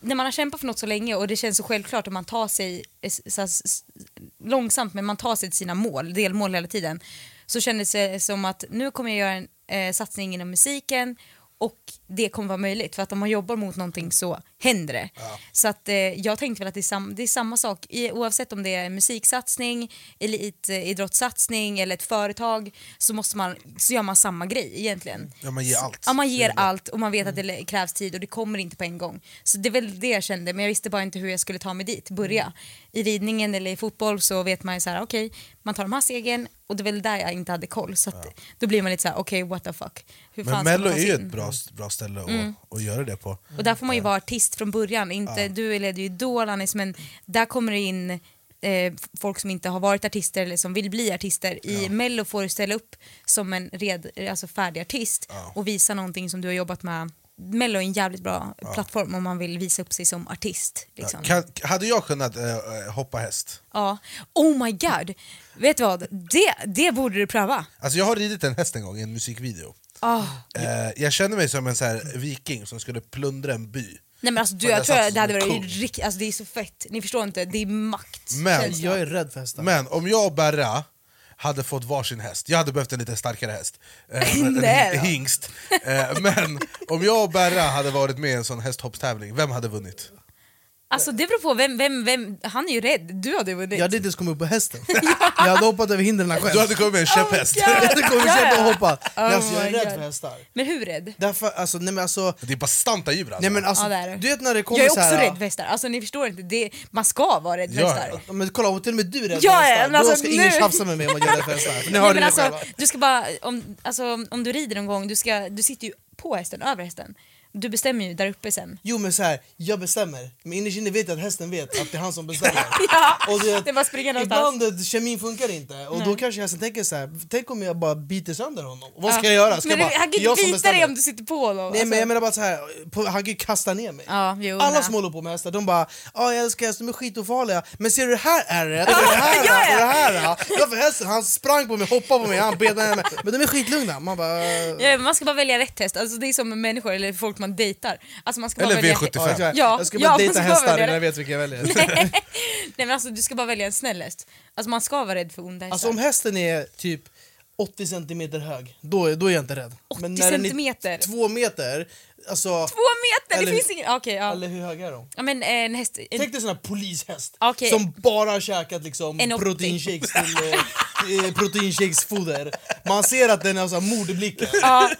när man har kämpat för något så länge och det känns så självklart och man tar sig eh, så här, s- s- långsamt men man tar sig till sina mål, delmål hela tiden. Så kändes det som att nu kommer jag göra en eh, satsning inom musiken och det kommer vara möjligt för att om man jobbar mot någonting så händer det. Så att eh, jag tänkte väl att det är, sam- det är samma sak i, oavsett om det är en musiksatsning, elitidrottssatsning eller ett företag så, måste man, så gör man samma grej egentligen.
Ja, man ger allt.
Ja, man ger allt och man vet att
Mm.
det krävs tid och det kommer inte på en gång. Så det är väl det jag kände, men jag visste bara inte hur jag skulle ta mig dit,
Mm.
börja. I ridningen eller i fotboll så vet man ju så här, okej, man tar de här stegen och det är väl där jag inte hade koll. Så att, då blir man lite så här, okej, what the fuck. Hur
Men
fan ska man
Mello
ta
är
sig
ju
in?
ett bra, bra ställe att,
Mm.
att göra det på.
Och där får man ju vara artist från början. Inte, Du leder ju Idol Anis, men där kommer det in eh, folk som inte har varit artister eller som vill bli artister. I Mello får du ställa upp som en red, alltså färdig artist och visa någonting som du har jobbat med. Mello är en jävligt bra plattform om man vill visa upp sig som artist. Liksom. Ja.
Kan, hade jag kunnat eh, hoppa häst?
Oh my god! Vet du vad? Det, det borde du pröva.
Alltså jag har ridit en häst en gång i en musikvideo.
Ah.
Eh, jag känner mig som en så här viking som skulle plundra en by.
Nej, men alltså, du,
Men
jag
jag
tror
satt
att det hade
som en
varit
kung.
riktigt, alltså, det är så fett. Ni förstår inte, det är makt.
Men-
känsla.
Jag är rädd för hästar.
Men om jag och Berra hade fått varsin häst, jag hade behövt en lite starkare häst, eh, en
Nej då.
hingst. Eh, men om jag och Berra hade varit med i en sån hästhoppstävling, vem hade vunnit?
Alltså det beror på vem, vem, vem, han är ju rädd, du hade ju vunnit.
Jag hade inte ens kommit upp på hästen. jag hade hoppat över hindren själv.
Du hade kommit med en
Oh my
käpphäst.
God.
Jag hade kommit själv och hoppat.
Oh
Nej, alltså, jag är
my
rädd
God.
för hästar.
Men hur rädd?
Därför, alltså, nej men alltså,
det är bastanta djur alltså.
nej men alltså
Ja, det är det.
du vet när det kommer
Jag är också
så här,
rädd för hästar, alltså ni förstår inte, det, man ska vara rädd för
Ja,
hästar.
ja.
Ja, Men kolla, om till och med du är rädd
Ja,
för hästar,
men alltså,
då ska ingen
nu-
tjafsa med mig om att jag är rädd för hästar. För Ni
Nej,
hörde
men
det
alltså,
själva.
du ska bara, om, alltså, om du rider någon gång, du, ska, du sitter ju på hästen, över hästen. Du bestämmer ju där uppe sen.
Jo men så här, jag bestämmer, men innerst inne vet jag att hästen vet att det är han som bestämmer.
Ja,
Och du vet,
det är bara att springa någonstans.
ibland eh, kemin funkar inte och då kanske hästen tänker så här, tänk om jag bara biter sönder honom, vad ska jag göra? Ska
men
jag bara,
det- han kan
"Det är
ju
jag
inte
som
bita dig
bestämmer."
om du sitter på honom.
Nej
alltså.
men jag menar bara så här, på, han kan ju kasta ner mig.
Ja, jo,
Alla
nej.
som håller på med hästar, de bara ja jag älskar hästar, de är skitofarliga, men ser du det här ärret och det här och det här? Ja för hästen, han sprang på mig, hoppade på mig, han bet ner mig, men de är skitlugna. Man bara... "Eh,
Ja, man ska bara välja rätt häst, alltså, det är som med människor eller folk man dejtar. Alltså, man ska bara
Eller
välja-
V75.
Ja, exakt.
Ja,
jag ska
ja,
bara
man
dejta
ska
hästar
välja
innan jag
det.
vet vilka jag väljer.
Nej men alltså, du ska bara välja en snäll häst. Alltså, man ska vara rädd för onda hästar.
Alltså om hästen är typ 80 centimeter hög, då, då är jag inte rädd.
80 centimeter?
Ni, två meter, alltså...
Två meter, det
Eller hur-
finns ingen... Okej, ja.
Eller hur höga är de?
ja. Men eh, en häst...
Tänk dig en sån här polishäst
Okej.
som bara har käkat liksom
En 80.
proteinshakes till eh, eh, proteinshakesfoder. Man ser att den har sån här mordblick.
Ja,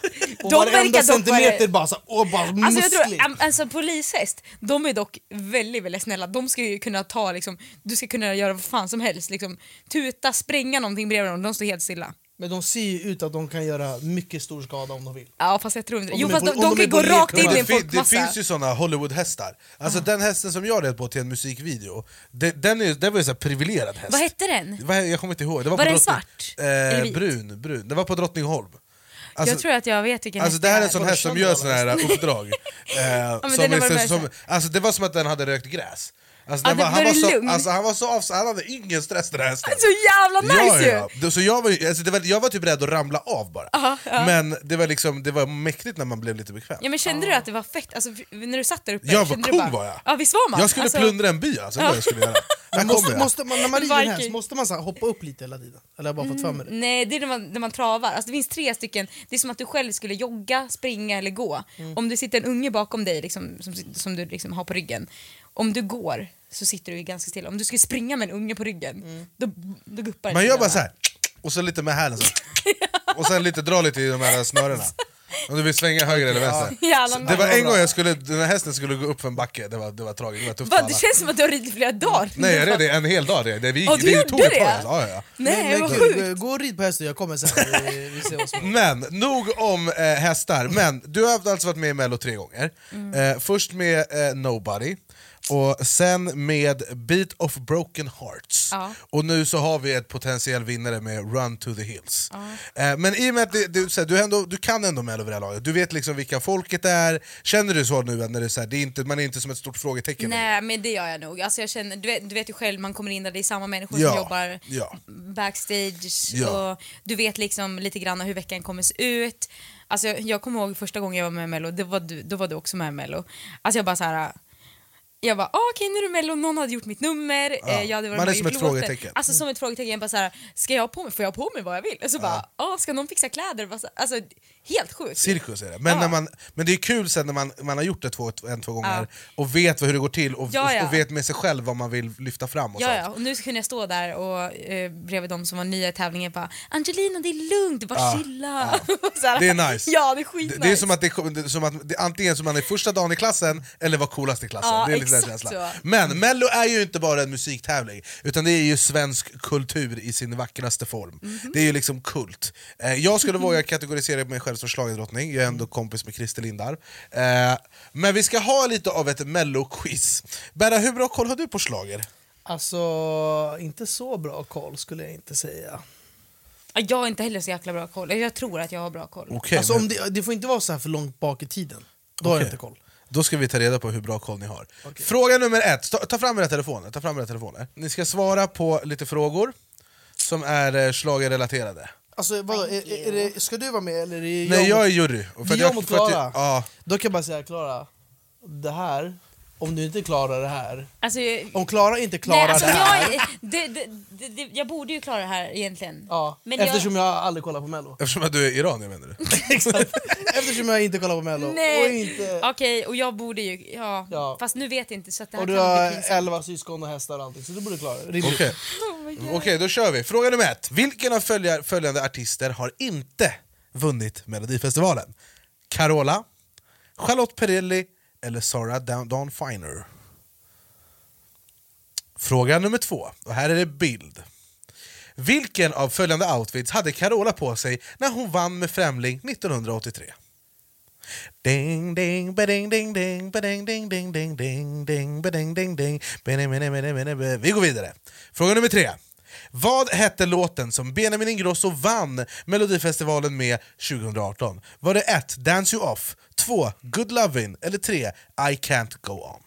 Och
de
varenda
verkar dock
centimeter
vara...
bara, så, och bara
Alltså, jag
musklig.
tror, am- alltså polishäst, de är dock väldigt, väldigt snälla. De ska ju kunna ta liksom, du ska kunna göra vad fan som helst. Liksom, tuta, spränga någonting bredvid dem, de står helt stilla.
Men de ser ju ut att de kan göra mycket stor skada om de vill.
Ja fast jag tror inte det.
Om
Jo
de är
fast
på-
de,
om de
de kan
är
ju
på
gå
lek,
rakt
då.
in i
Det,
en
fi- det
folkmassa.
finns ju såna Hollywood-hästar.
Ah.
Alltså den hästen som jag red på till en musikvideo, det, den, är, den var ju så här privilegierad häst.
Vad hette den?
Vad he- jag kommer inte ihåg. Det var,
Var
på
den
Drottning-
svart? Eller
Eh,
vit?
brun, brun. Det var på Drottningholm.
jag tror att jag vet vilken
Alltså
häst
det här är en
är.
sån
Var det
häst som
känd
gör
eller?
såna här uppdrag. Eh,
men
som
den har
är,
varit
så-
med
som, alltså det var som att den hade rökt gräs. Alltså
Ja,
den var,
den
han, var
var
så,
lugn.
alltså han var så avs- han hade ingen stress den här hästen.
Så jävla nice ju!
ja, ja. Så jag, var, ju- alltså det var, jag var typ rädd att ramla av bara. Men det var, liksom, det var mäktigt när man blev lite bekväm.
Ja men kände du att det var fett, alltså, f- när du satt där uppe?
Jag var
kände
kung
du bara,
var jag.
Ja visst var man?
Jag skulle
Alltså,
plundra en by alltså, det var det jag skulle göra. Här
Men måste,
kommer jag.
måste man, när man rider en häst,
Viking.
måste man så här hoppa upp lite hela tiden? Eller har jag bara fått för mig det?
Nej det är när man, när man travar, alltså, det finns tre stycken, det är som att du själv skulle jogga, springa eller gå.
Mm.
Om det sitter en unge bakom dig liksom, som, som du liksom har på ryggen, om du går så sitter du ju ganska stilla. Om du skulle springa med en unge på ryggen, då, då guppar
Man
den till
gör Mm. bara
den,
så här. och så lite med hälen så. Och sen lite dra lite i de här snörena. Om du vill svänga höger eller vänster.
Jävla
Så Det var
nice.
en gång jag skulle, den här hästen skulle gå upp för en backe, det var, det var tragiskt, det var tufft
Va,
för alla.
det känns som att du har ridit flera dagar.
Nej jag red det en hel dag, det, det, vi,
Ja,
gick-
du
det
gjorde
tog ett
det?
tag. alltså. Ja, ja, ja.
Nej,
Men
vad
gud,
sjukt.
Gå och rid på hästen, jag kommer sen. Vi, vi ser vad som händer.
Men nog om eh, hästar, men du har alltså varit med i mello tre gånger.
Mm.
Eh, först med eh, Nobody, och sen med Beat of Broken Hearts.
Ja.
Och nu så har vi ett potentiell vinnare med Run to the Hills. Eh, men i och med att det, det, så här, du, ändå, du kan ändå Mello vid det här laget, du vet liksom vilka folket är, känner du så nu? att När det är så här, det är inte, man är inte som ett stort frågetecken längre?
Nej men det gör jag nog. Alltså jag känner, du, vet, du vet ju själv, man kommer in där det är samma människor
Ja,
som jobbar
ja.
backstage
Ja.
och du vet liksom lite grann hur veckan kommer se ut. Alltså jag, jag kommer ihåg första gången jag var med i Mello, det var du, då var du också med i Mello. Alltså jag bara så här. Jag bara, ah, okej nu är det Mello, någon hade gjort mitt nummer, eh, jag hade varit
man
med
är
och
som
gjort
ett
låten.
frågetecken.
Alltså som ett frågetecken, jag bara så här, ska jag ha på mig, får jag ha på mig vad jag vill? Och så bara, ah, ska någon fixa kläder? Bara så- Alltså helt sjukt.
Cirkus är det. Men,
Ja.
när man, men det är kul sen när man, man har gjort det två, en, två gånger och vet hur det går till och,
Ja,
och-
ja.
och vet med sig själv vad man vill lyfta fram. Och
Ja,
sånt.
ja, och nu så kunde jag stå där och eh, bredvid de som var nya i tävlingen bara “Angelina, det är lugnt, bara chilla”. så här.
Det är nice.
Ja, det är
det,
skitnice.
det är som att, det, kom- det, som att det, antingen som man är första dagen i klassen eller var coolast i klassen.
Ja,
det är lite den
exakt
känslan.
så.
Men Mello är ju inte bara en musiktävling, utan det är ju svensk kultur i sin vackraste form.
Mhm.
Det är ju liksom kult. Eh, jag skulle våga kategorisera mig själv som schlagerdrottning, jag är ändå kompis med Christer Lindar. Eh, men vi ska ha lite av ett Mello-quiz. Berra, hur bra koll har du på schlager?
Alltså, inte så bra koll skulle jag inte säga.
Ja, Jag har inte heller så jäkla bra koll. Jag tror att jag har bra koll.
Okej,
alltså,
men-
om det, det får inte vara så här för långt bak i tiden. Då har jag
Okej.
inte koll.
Då ska vi ta reda på hur bra koll ni har. Fråga nummer ett, ta, ta fram era telefoner. Ta fram era telefoner. Ni ska svara på lite frågor som är eh, schlagerrelaterade.
Alltså, vadå, är, är det, ska du vara med eller är det jag?
Nej, jag är
mot-
jury. Och
det är jag mot
för att
Klara.
ja,
Då kan jag bara säga Klara, det här, om du inte klarar det här.
Alltså, jag-
Om Klara inte klarar
nej, alltså,
det här.
jag, är- det, det, det, det, jag borde ju klara det här egentligen.
Ja,
Men
eftersom jag... aldrig kollar på mello.
eftersom att du är iranier menar du?
Exakt. eftersom jag inte kollar på mello.
jag...
Och,
Nej,
inte,
okej, och jag borde ju... Ja,
Ja.
fast nu vet jag inte så att det här
och du
kan
har
bli pinsamt.
elva syskon och hästar och allting, så du borde klara det. Rimligt.
Okej, Okej, då kör vi. Fråga nummer ett. Vilken av följa- följande artister har inte vunnit Melodifestivalen? Carola, Charlotte Perrelli eller Sara Dawn, Dawn Finer? Fråga nummer två, och här är det bild. Vilken av följande outfits hade Carola på sig när hon vann med Främling 1983? Ding ding ba-ding ding ding ba-ding ding ding ding ding ding ba-ding ding ding Bene, bene, bene, bene, bene. Vi går vidare. Fråga nummer tre. Vad hette låten som Benjamin Ingrosso vann Melodifestivalen med 2018? Var det 1. Dance You Off, 2. Good Lovin' eller 3. I Can't Go On?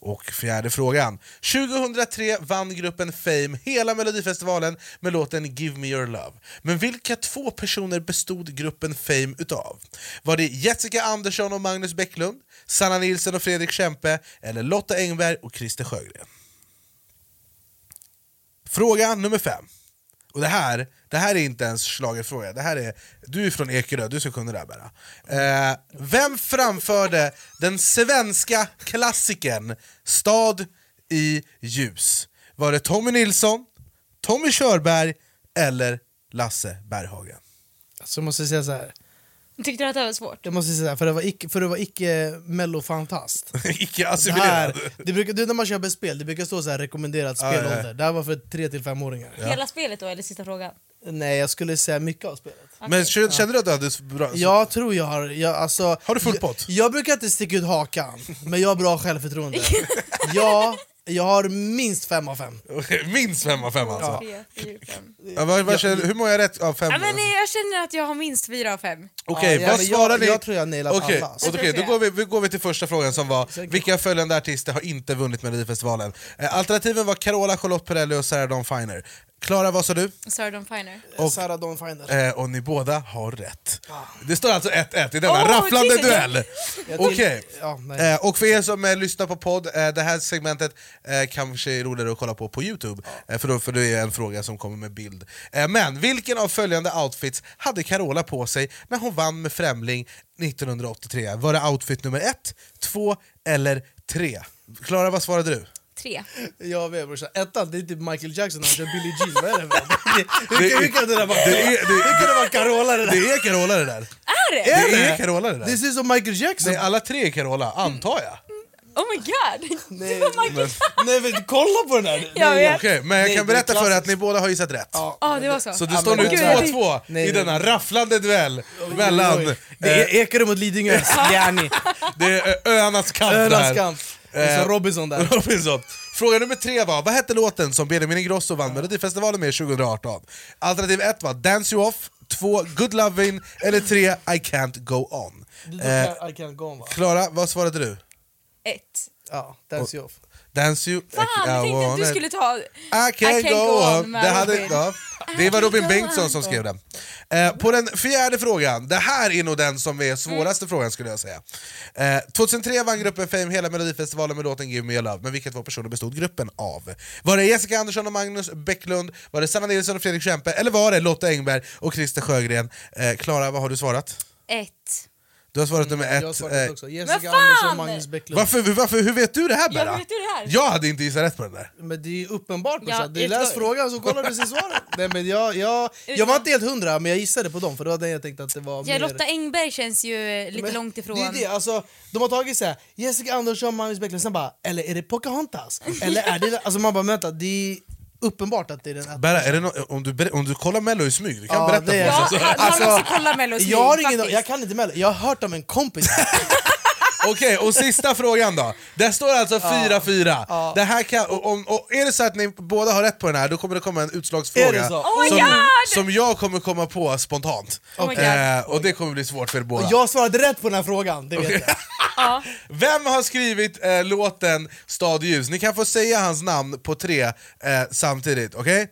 Och fjärde frågan. 2003 vann gruppen Fame hela Melodifestivalen med låten Give Me Your Love. Men vilka två personer bestod gruppen Fame utav? Var det Jessica Andersson och Magnus Bäcklund, Sanna Nilsson och Fredrik Kempe eller Lotta Engberg och Christer Sjögren? Fråga nummer fem. Och det här, det här är inte ens schlagerfråga, det här är, du är från Ekerö, du ska kunna det här bara. Eh, vem framförde den svenska klassikern Stad i ljus? Var det Tommy Nilsson, Tommy Körberg eller Lasse Berghagen?
Alltså, jag måste säga så här.
Tyckte du att det här var svårt?
Jag måste säga så här, för det var icke, för det var icke mellofantast.
Icke
Det
assimilerad.
här, det brukar, du när man köper spel, det brukar stå så här rekommenderat
Ja, ja, ja.
spelålder. Det här var för 3-5-åringar.
Hela spelet då, eller sista frågan?
Nej, jag skulle säga mycket av spelet.
Men kände kände du att du hade så bra... så-
Jag tror jag har... Jag, alltså,
Har du full pott?
Jag, jag brukar inte sticka ut hakan, men jag har bra självförtroende. ja, jag har minst fem av fem.
Minst fem av fem alltså.
Tre, fyra, fem.
Ja. vad- vad känner- hur många är rätt av fem?
Ja, men jag känner att jag har minst fyra av fem.
Okej,
Ja, ja,
vad
men
svarar
jag-
ni?
jag tror jag nailat
Okej,
alla, alltså.
och okej, då går vi, vi går vi till första frågan som var Vilka följande artister har inte vunnit Melodifestivalen? Eh, Alternativen var Carola, Charlotte Perrelli och Sarah Dawn Finer. Klara, vad sa du?
Sarah Dawn Finer.
Och, Sarah Dawn Finder.
Eh, och ni båda har rätt.
Ah.
Det står alltså 1-1 i denna
Åh,
rafflande
Jesus.
duell.
till-
Okej.
Ja, nej.
Eh, och för er som eh, lyssnar på podd, eh, det här segmentet eh, kanske är roligare att kolla på på Youtube,
Ah.
eh, för, då, för det är en fråga som kommer med bild. Eh, men vilken av följande outfits hade Carola på sig när hon vann med Främling 1983? Var det outfit nummer ett, två eller tre? Klara, vad svarade du?
Tre.
Jag vet brorsan, ettan det är typ Michael Jackson när han kör Billie Jean, vad är det för Hur kan- hur kan det där vara?
det är- det-
Hur kan det vara Carola det
Det
där?
är Carola det där!
Är det?
Det är Carola det
Det
där!
ser ut som Michael Jackson!
Nej, alla tre är Carola,
Mm.
antar jag.
Oh my god! Det var Michael
Nej men kolla på den här!
Jag vet.
Okej, men jag
Nej,
kan
det är
berätta för er att
klassiskt.
ni båda har gissat rätt.
Ja, det var så.
Så det
Ja,
står nu
men det-
2-2
Nej,
i
det-
denna rafflande duell mellan eh,
Det är Ekerö E- mot Lidingö, Jani.
det är öarnas kamp.
Önas
där.
kamp. Och
Eh,
så Robinson där.
Robinson. Fråga nummer tre var, vad hette låten som Benjamin Ingrosso vann Melodifestivalen med 2018? Alternativ ett var Dance You Off, två Good Lovin' eller tre I Can't Go On. Eh,
I can't go on va?
Klara, vad svarade du?
Ett.
Ja, that's you off.
Dance You...
Fan, jag tänkte att du skulle ta...
I can,
I can
go,
go
on.
on
Det,
med
hade,
Robin.
ja. det
I can
var Robin
go
Bengtsson
on.
som skrev den. Eh, på den fjärde frågan, det här är nog den som är
Mm.
svåraste frågan skulle jag säga. Eh, 2003 vann gruppen Fame hela Melodifestivalen med låten Give Me A Love, men vilka två personer bestod gruppen av? Var det Jessica Andersson och Magnus Bäcklund, var det Sanna Nilsson och Fredrik Kempe, eller var det Lotta Engberg och Christer Sjögren? Eh, Klara, vad har du svarat?
Ett.
Du har svarat nummer ett.
Jag svarade
eh,
också. Jessica
fan!
Andersson, Magnus Bäcklund.
varför, varför, hur vet du det här
Ja,
Berra?
hur vet du det här?
Jag hade inte gissat rätt på den där.
Men det är ju uppenbart
Ja,
brorsan, du läs
utgår-
frågan så kollar du sig svaret. Nej, men jag, jag, jag var inte helt hundra men jag gissade på dem för det var den jag tänkte att det var
Ja,
mer-
Lotta Engberg känns ju eh, lite
Men
långt ifrån.
Det är det, alltså, de har tagit såhär, Jessica Andersson, Magnus Bäcklund, sen bara eller är det Pocahontas? eller är det... Alltså man bara vänta, det är uppenbart att det är den här.
Berra, är det nå- om, du, ber- om du kollar mello i smyg, du kan
Ja,
berätta
det är
för oss.
Ja,
så-
man
alltså,
måste kolla Mello
Jag, har ingen,
faktiskt.
jag kan inte mello, jag har hört om en kompis.
Okej, och sista frågan då. Där står alltså 4-4. Det här kan, och, om, och är det så att ni båda har rätt på den här, då kommer det komma en
Är
utslagsfråga
det så?
Oh my
som,
god!
som jag kommer komma på spontant.
Oh my God.
eh, och det kommer bli svårt för er båda.
jag svarade rätt på den här frågan, det vet jag.
Ja.
Vem har skrivit eh, låten Stad i ljus? Ni kan få säga hans namn på tre eh, samtidigt, okej?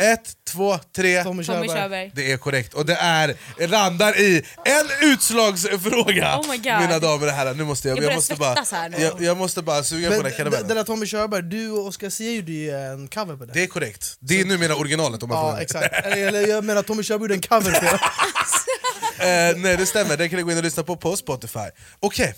Ett, två, tre.
Tommy
Tommy
Körberg.
Körberg.
Det är korrekt, och det är, landar i en utslagsfråga!
Oh my God.
Mina damer och herrar, nu måste jag,
Jag
jag,
börjar
måste, bara,
svettas här nu.
jag, jag måste bara suga
Men
på den här
den, den
karamellen.
där Tommy Körberg, du och Oscar Zia gjorde ju en cover på den.
Det är korrekt, det är numera originalet om man frågar
Ja,
mig.
exakt. Eller jag menar Tommy Körberg gjorde en cover på den.
Eh, nej det stämmer, den kan ni gå in och lyssna på på Spotify. Okej,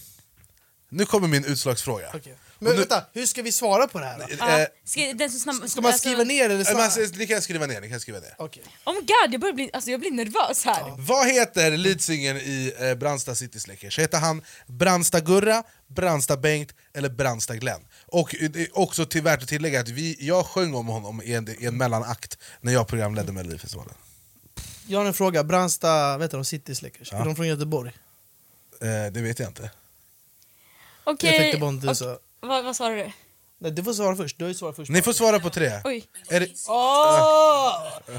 nu kommer min utslagsfråga.
Okej. Men vänta, hur ska vi svara på det här då?
Ja.
Eh,
Ska, den som snabb,
Ska man skriva ner eller
men
svara?
alltså, ni kan skriva ner, ni kan skriva ner.
Okej.
Oh my god, jag börjar bli, alltså, jag blir nervös här.
Vad heter leadsingern i eh, Brandsta City Slickers? Heter han Brandsta-Gurra, Brandsta-Bengt eller Brandsta-Glenn? Och eh, det är också till, värt att tillägga att vi, jag sjöng om honom i en, i en mellanakt när jag programledde Melodifestivalen.
Jag har en fråga, Brandsta, vet du de City Slickers, är de från Göteborg?
Eh, det vet jag inte.
Okej.
Jag tänkte bara om du
och-
sa...
Vad, vad svarade du?
Nej, du får svara först, du har ju svarat först.
Ni får svara på tre.
Oj.
Är det,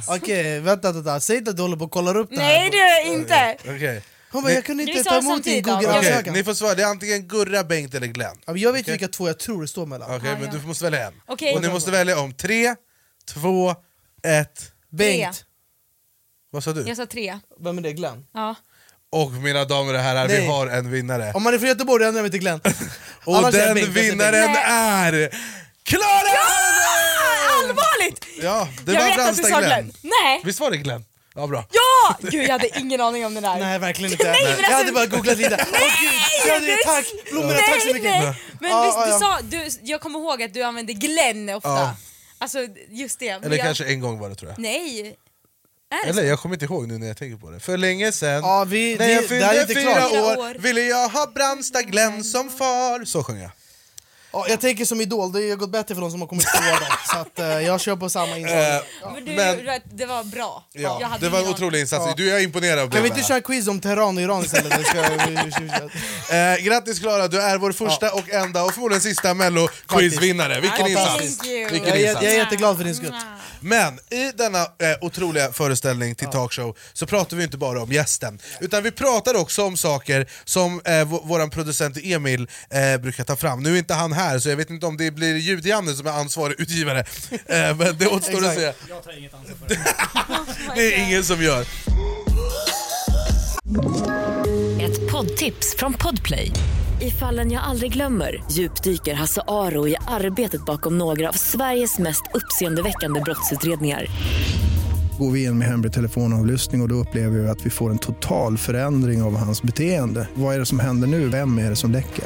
Okej, vänta, vänta, säg inte att du håller på och kollar upp det här.
Nej, det gör jag inte.
Okej.
Hon bara, jag kunde
Ska
inte
vi
ta
svara
emot din
samtidigt då?
Okej,
Google-ansökan.
ni får svara, det är antingen Gurra, Bengt eller Glenn.
Ja, men Jag vet vilka två jag tror det står mellan.
Okej, men du måste välja en.
Okej.
Och ni måste välja om tre, två, ett...
Bengt,
Vad sa du?
Jag sa tre.
vem är det? Glenn?
Ja.
Och mina damer och herrar, vi
Nej.
har en vinnare.
Om man är från Göteborg ändrar jag mig till Glenn.
Och
Annars är jag
den
Bengt, jag säger Bengt.
vinnaren är... Klara! Hallberg!
Allvarligt!
Ja, det
Jag
var
vet att du
Brandsta
sa
Glenn.
Glenn. Nej.
Visst var det Glenn? Ja, bra.
Ja! Gud, jag hade ingen aning om den där.
Nej, verkligen inte.
Nej, men
jag
alltså-
hade bara googlat lite. Nej! jag hade,
det-
tack! Blommorna,
nej,
tack så mycket.
Nej. Men
Ja,
visst,
ja,
du
ja.
sa, du, jag kommer ihåg att du använde Glenn ofta.
Ja.
Alltså just det. men
Eller
jag,
kanske en gång var det tror jag.
Nej. Är det
Eller jag kommer inte ihåg nu när jag tänker på det. För länge sedan,
Ja, vi-
när
det-
jag
det här är
fyllde
inte
fyra
klart.
Fyra
år,
år.
ville jag ha Brandsta Glenn som far. Så sjöng jag.
Ja, jag tänker som Idol, det har gått bättre för de som har kommit tvåa där. Så att, eh, jag kör på samma
Eh,
inslag.
så? Men du,
Men-
gjorde att det var bra. Jag
Ja,
hade
det var en
ingen
otrolig insats.
Ja.
Du, jag är imponerad av dig.
Kan vi
med
inte
det
köra en quiz om Teheran och Iran istället? Det Ska,
här. Eh, grattis Klara, du är vår första och enda och förmodligen sista mello-quizvinnare. Vilken
Aning.
insats!
Thank you.
Vilken
jag, är,
insats.
jag är jätteglad för din skull.
Men i denna eh, otroliga föreställning till talkshow så pratar vi inte bara om gästen, utan vi pratar också om saker som eh, vå- våran producent Emil eh, brukar ta fram. Nu är inte han här, så jag vet inte om det blir Ljud-Janne som är ansvarig utgivare. eh, men det återstår att se.
Jag tar inget ansvar för det.
Det är ingen som gör.
Ett poddtips från Podplay. I fallen jag aldrig glömmer djupdyker Hasse Aro i arbetet bakom några av Sveriges mest uppseendeväckande brottsutredningar.
Går vi in med hemlig telefonavlyssning och, och då upplever vi att vi får en total förändring av hans beteende. Vad är det som händer nu? Vem är det som läcker?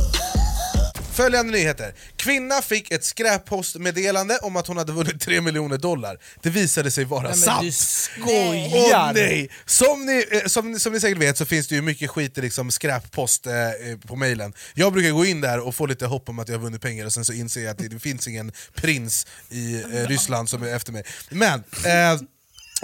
Följande nyheter. Kvinna fick ett skräppostmeddelande om att hon hade vunnit 3 miljoner dollar. Det visade sig vara sant.
skojar!
Åh nej! Som ni, eh, som, som ni säkert vet så finns det ju mycket skit i liksom skräppost eh, eh, på mejlen. Jag brukar gå in där och få lite hopp om att jag har vunnit pengar och sen så inser jag att det, det finns ingen prins i eh, Ryssland som är efter mig. Men... Eh,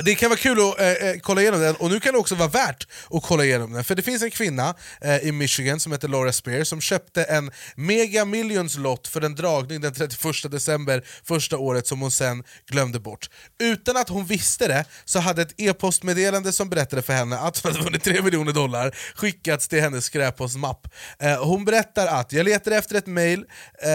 det kan vara kul att eh, eh, kolla igenom den, och nu kan det också vara värt att kolla igenom den. För det finns en kvinna eh, i Michigan som heter Laura Spear som köpte en Mega Millions lott för en dragning den 31 december första året som hon sen glömde bort. Utan att hon visste det så hade ett e-postmeddelande som berättade för henne att hon hade vunnit 3 miljoner dollar skickats till hennes skräppostmapp. Eh, hon berättar att jag letar efter ett mejl eh,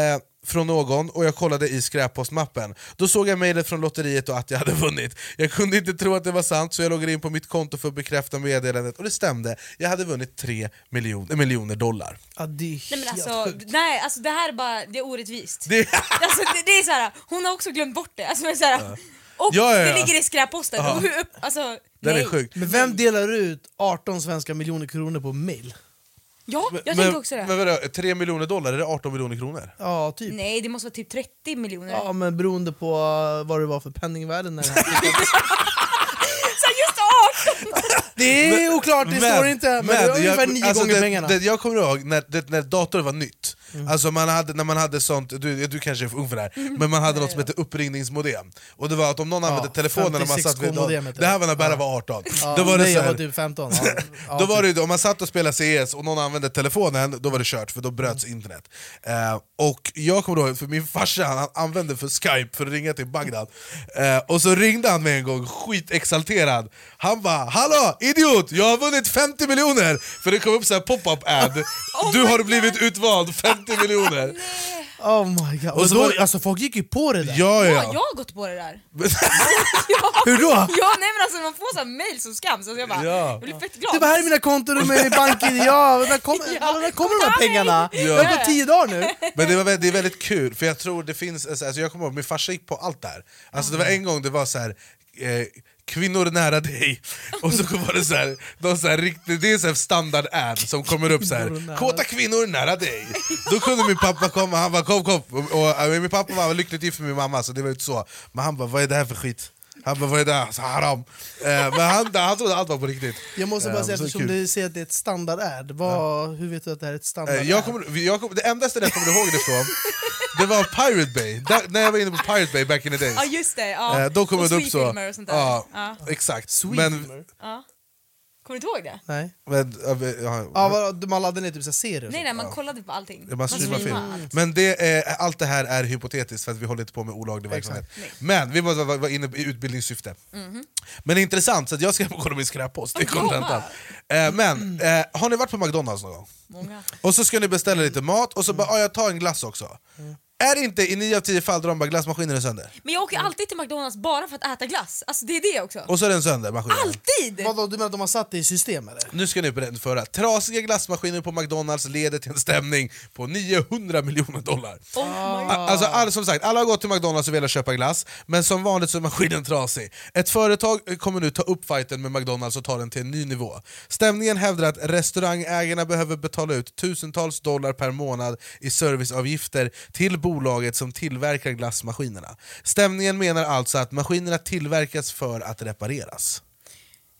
från någon och jag kollade i skräppostmappen. Då såg jag mejlet från lotteriet och att jag hade vunnit. Jag kunde inte tro att det var sant så jag loggade in på mitt konto för att bekräfta meddelandet och det stämde. Jag hade vunnit 3 miljoner, miljoner dollar.
Ja, det är
Nej men
helt
alltså,
sjukt.
nej, alltså det här är bara, det är orättvist.
Det,
Alltså, det, det är såhär, hon har också glömt bort det. Alltså, det är såhär, Och
Ja, ja, ja.
det ligger i skräpposten. Och hur upp, alltså,
den
nej.
är sjuk.
Men vem delar ut 18 svenska miljoner kronor på mail?
Ja, jag
men,
tänkte också det.
Men vadå, 3 miljoner dollar, är det 18 miljoner kronor?
Ja, typ.
nej, det måste vara typ 30 miljoner.
Ja, men beroende på eh, vad det var för penningvärden. när den här skickades.
Så just 18!
det är oklart, det står inte. Men, det var ungefär nio
alltså,
gånger
det,
pengarna. Mm.
Det, jag kommer ihåg när, det, när dator var nytt, alltså man hade, när man hade sånt, du, du kanske är för ung för det här, men man hade något som hette uppringningsmodem. Och det var att om någon använde telefonen när man satt vid
56K-modemet,
det här
ja.
var när Berra var 18,
ja,
då var det
nej,
så
jag
här,
var typ 15. Ja, ja, typ.
då var det, ju- om man satt och spelade CS och någon använde telefonen, då var det kört för då bröts internet. Eh, och jag kommer ihåg, för min farsa han använde för skype för att ringa till Bagdad, eh, och så ringde han mig en gång skitexalterad. Han bara “Hallå idiot, jag har vunnit 50 miljoner!” För det kom upp så här pop-up ad,
Oh
“Du har blivit utvald 50 miljoner!”
Oh my god. Och
så
då,
var det-
Alltså folk gick ju på det där.
Ja,
Ja, ja.
jag har gått på det där.
Hur då?
Ja, nej men alltså man får såhär mail som skams, alltså jag bara,
Ja.
jag blir fett glad.
Det var här är mina konton med banken, ja, när kommer,
Ja.
när kommer de här pengarna?
Ja.
Det har gått tio dagar nu.
Men det, var, vä- det är väldigt kul, för jag tror det finns, alltså alltså jag kommer ihåg, min farsa gick på allt där. Alltså det
Mm.
var en gång det var så här. Eh, Kvinnor nära dig, och så var det så här, någon så här riktig, det är en sån här standard ad som kommer upp så
Kvinnor
här.
nära.
Kåta kvinnor nära dig. Då kunde min pappa komma, han bara kom kom. Och, och, och min pappa var lyckligt gift med min mamma så det var inte så. Men han bara vad är det här för skit? Han bara vad är det här? Så haram. Eh, men han, han trodde allt var på riktigt.
Jag måste bara
Eh,
säga,
så
eftersom
kul.
du säger att det är ett standardad, vad, hur vet du att det här är ett standardad?
Eh, Jag kommer, jag kommer, det enda stället jag kommer ihåg det från, det var Pirate Bay, där, när jag var inne på Pirate Bay back in the days.
Ja just det, Ah, ja.
Eh, då kommer
och
det upp så.
sweet-filmer och sånt där.
Ja,
Ja.
Exakt. Men,
Sweetmer?
Kommer du inte ihåg det?
Alltså,
Nej.
men, ja, vi- ja,
Ja, vad, man laddade ner typ så här serier?
Nej
och sånt.
nej, man kollade på allting.
man
streamar
streamar film.
allt.
Men det är, allt det här är hypotetiskt för att vi håller inte på med olaglig verksamhet. Men vi måste vara vara inne i utbildningssyfte. Men det är intressant, så att jag ska kolla min skräppost. Det är
Mhm. Ja.
kontentan. Eh, Men eh, har ni varit på McDonalds någon gång?
Många.
Och så ska ni beställa lite mat och så bara, ah, jag tar en glass också. Är det inte i 9 av 10 fall där de bara glassmaskinen är sönder?
Men jag åker
Mm.
alltid till McDonalds bara för att äta glass. Alltså det är det också.
Och så är den sönder, maskinen.
Alltid!
Vadå, du menar att de har satt det i system eller?
Nu ska ni på den förra. Trasiga glassmaskiner på McDonalds leder till en stämning på 900 miljoner dollar.
Oh
A- Alltså, all, som sagt, alla har gått till McDonalds och velat köpa glass, men som vanligt så är maskinen trasig. Ett företag eh, kommer nu ta upp fighten med McDonalds och ta den till en ny nivå. Stämningen hävdar att restaurangägarna behöver betala ut tusentals dollar per månad i serviceavgifter till bolaget som tillverkar glassmaskinerna. Stämningen menar alltså att maskinerna tillverkas för att repareras.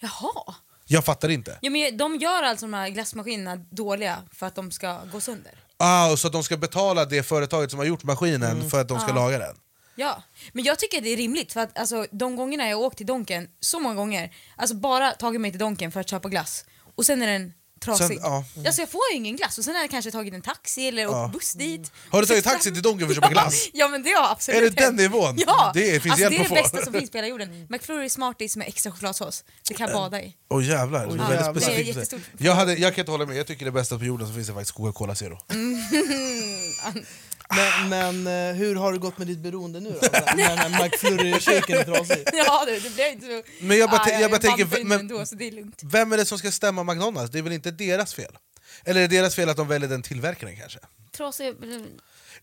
Jaha.
Jag fattar inte.
Ja, men de gör alltså de här glassmaskinerna dåliga för att de ska gå sönder.
Ah, och så att de ska betala det företaget som har gjort maskinen för att de ska
Mm. Ja.
laga den.
Ja, men jag tycker det är rimligt för att alltså, de gångerna jag har åkt till Donken, så många gånger, alltså bara tagit mig till Donken för att köpa glass och sen är den trasig.
Sen- ja. Mm.
Alltså jag får ju ingen glass och sen har jag kanske tagit en taxi eller åkt
Ja. Mm.
buss dit.
Har du
Och sen
tagit
fram-
taxi till Donken för att köpa glass?
Ja men det har jag absolut
Är det den
hänt.
nivån?
Ja!
Det finns
alltså,
hjälp
det är
att
det
få.
bästa som finns på hela jorden. McFlurry Smarties med extra chokladsås, det kan jag
Äh.
bada i.
Åh jävlar, det
Ja,
var
det är
väldigt specifikt.
jättestort.
Jag, hade, jag kan inte hålla med, jag tycker det bästa på jorden så finns det faktiskt Coca-Cola Zero.
Mm. Men, men eh, hur har det gått med ditt beroende nu då? När den här McFlurry-shaken är trasig?
Ja du, det blev inte så...
Men jag bara
Ah,
tän- jag bara tänker,
vampar in
men-
ändå, så det är lugnt.
Vem är det som ska stämma McDonalds? Det är väl inte deras fel? Eller är det deras fel att de väljer den tillverkaren kanske?
Trasig...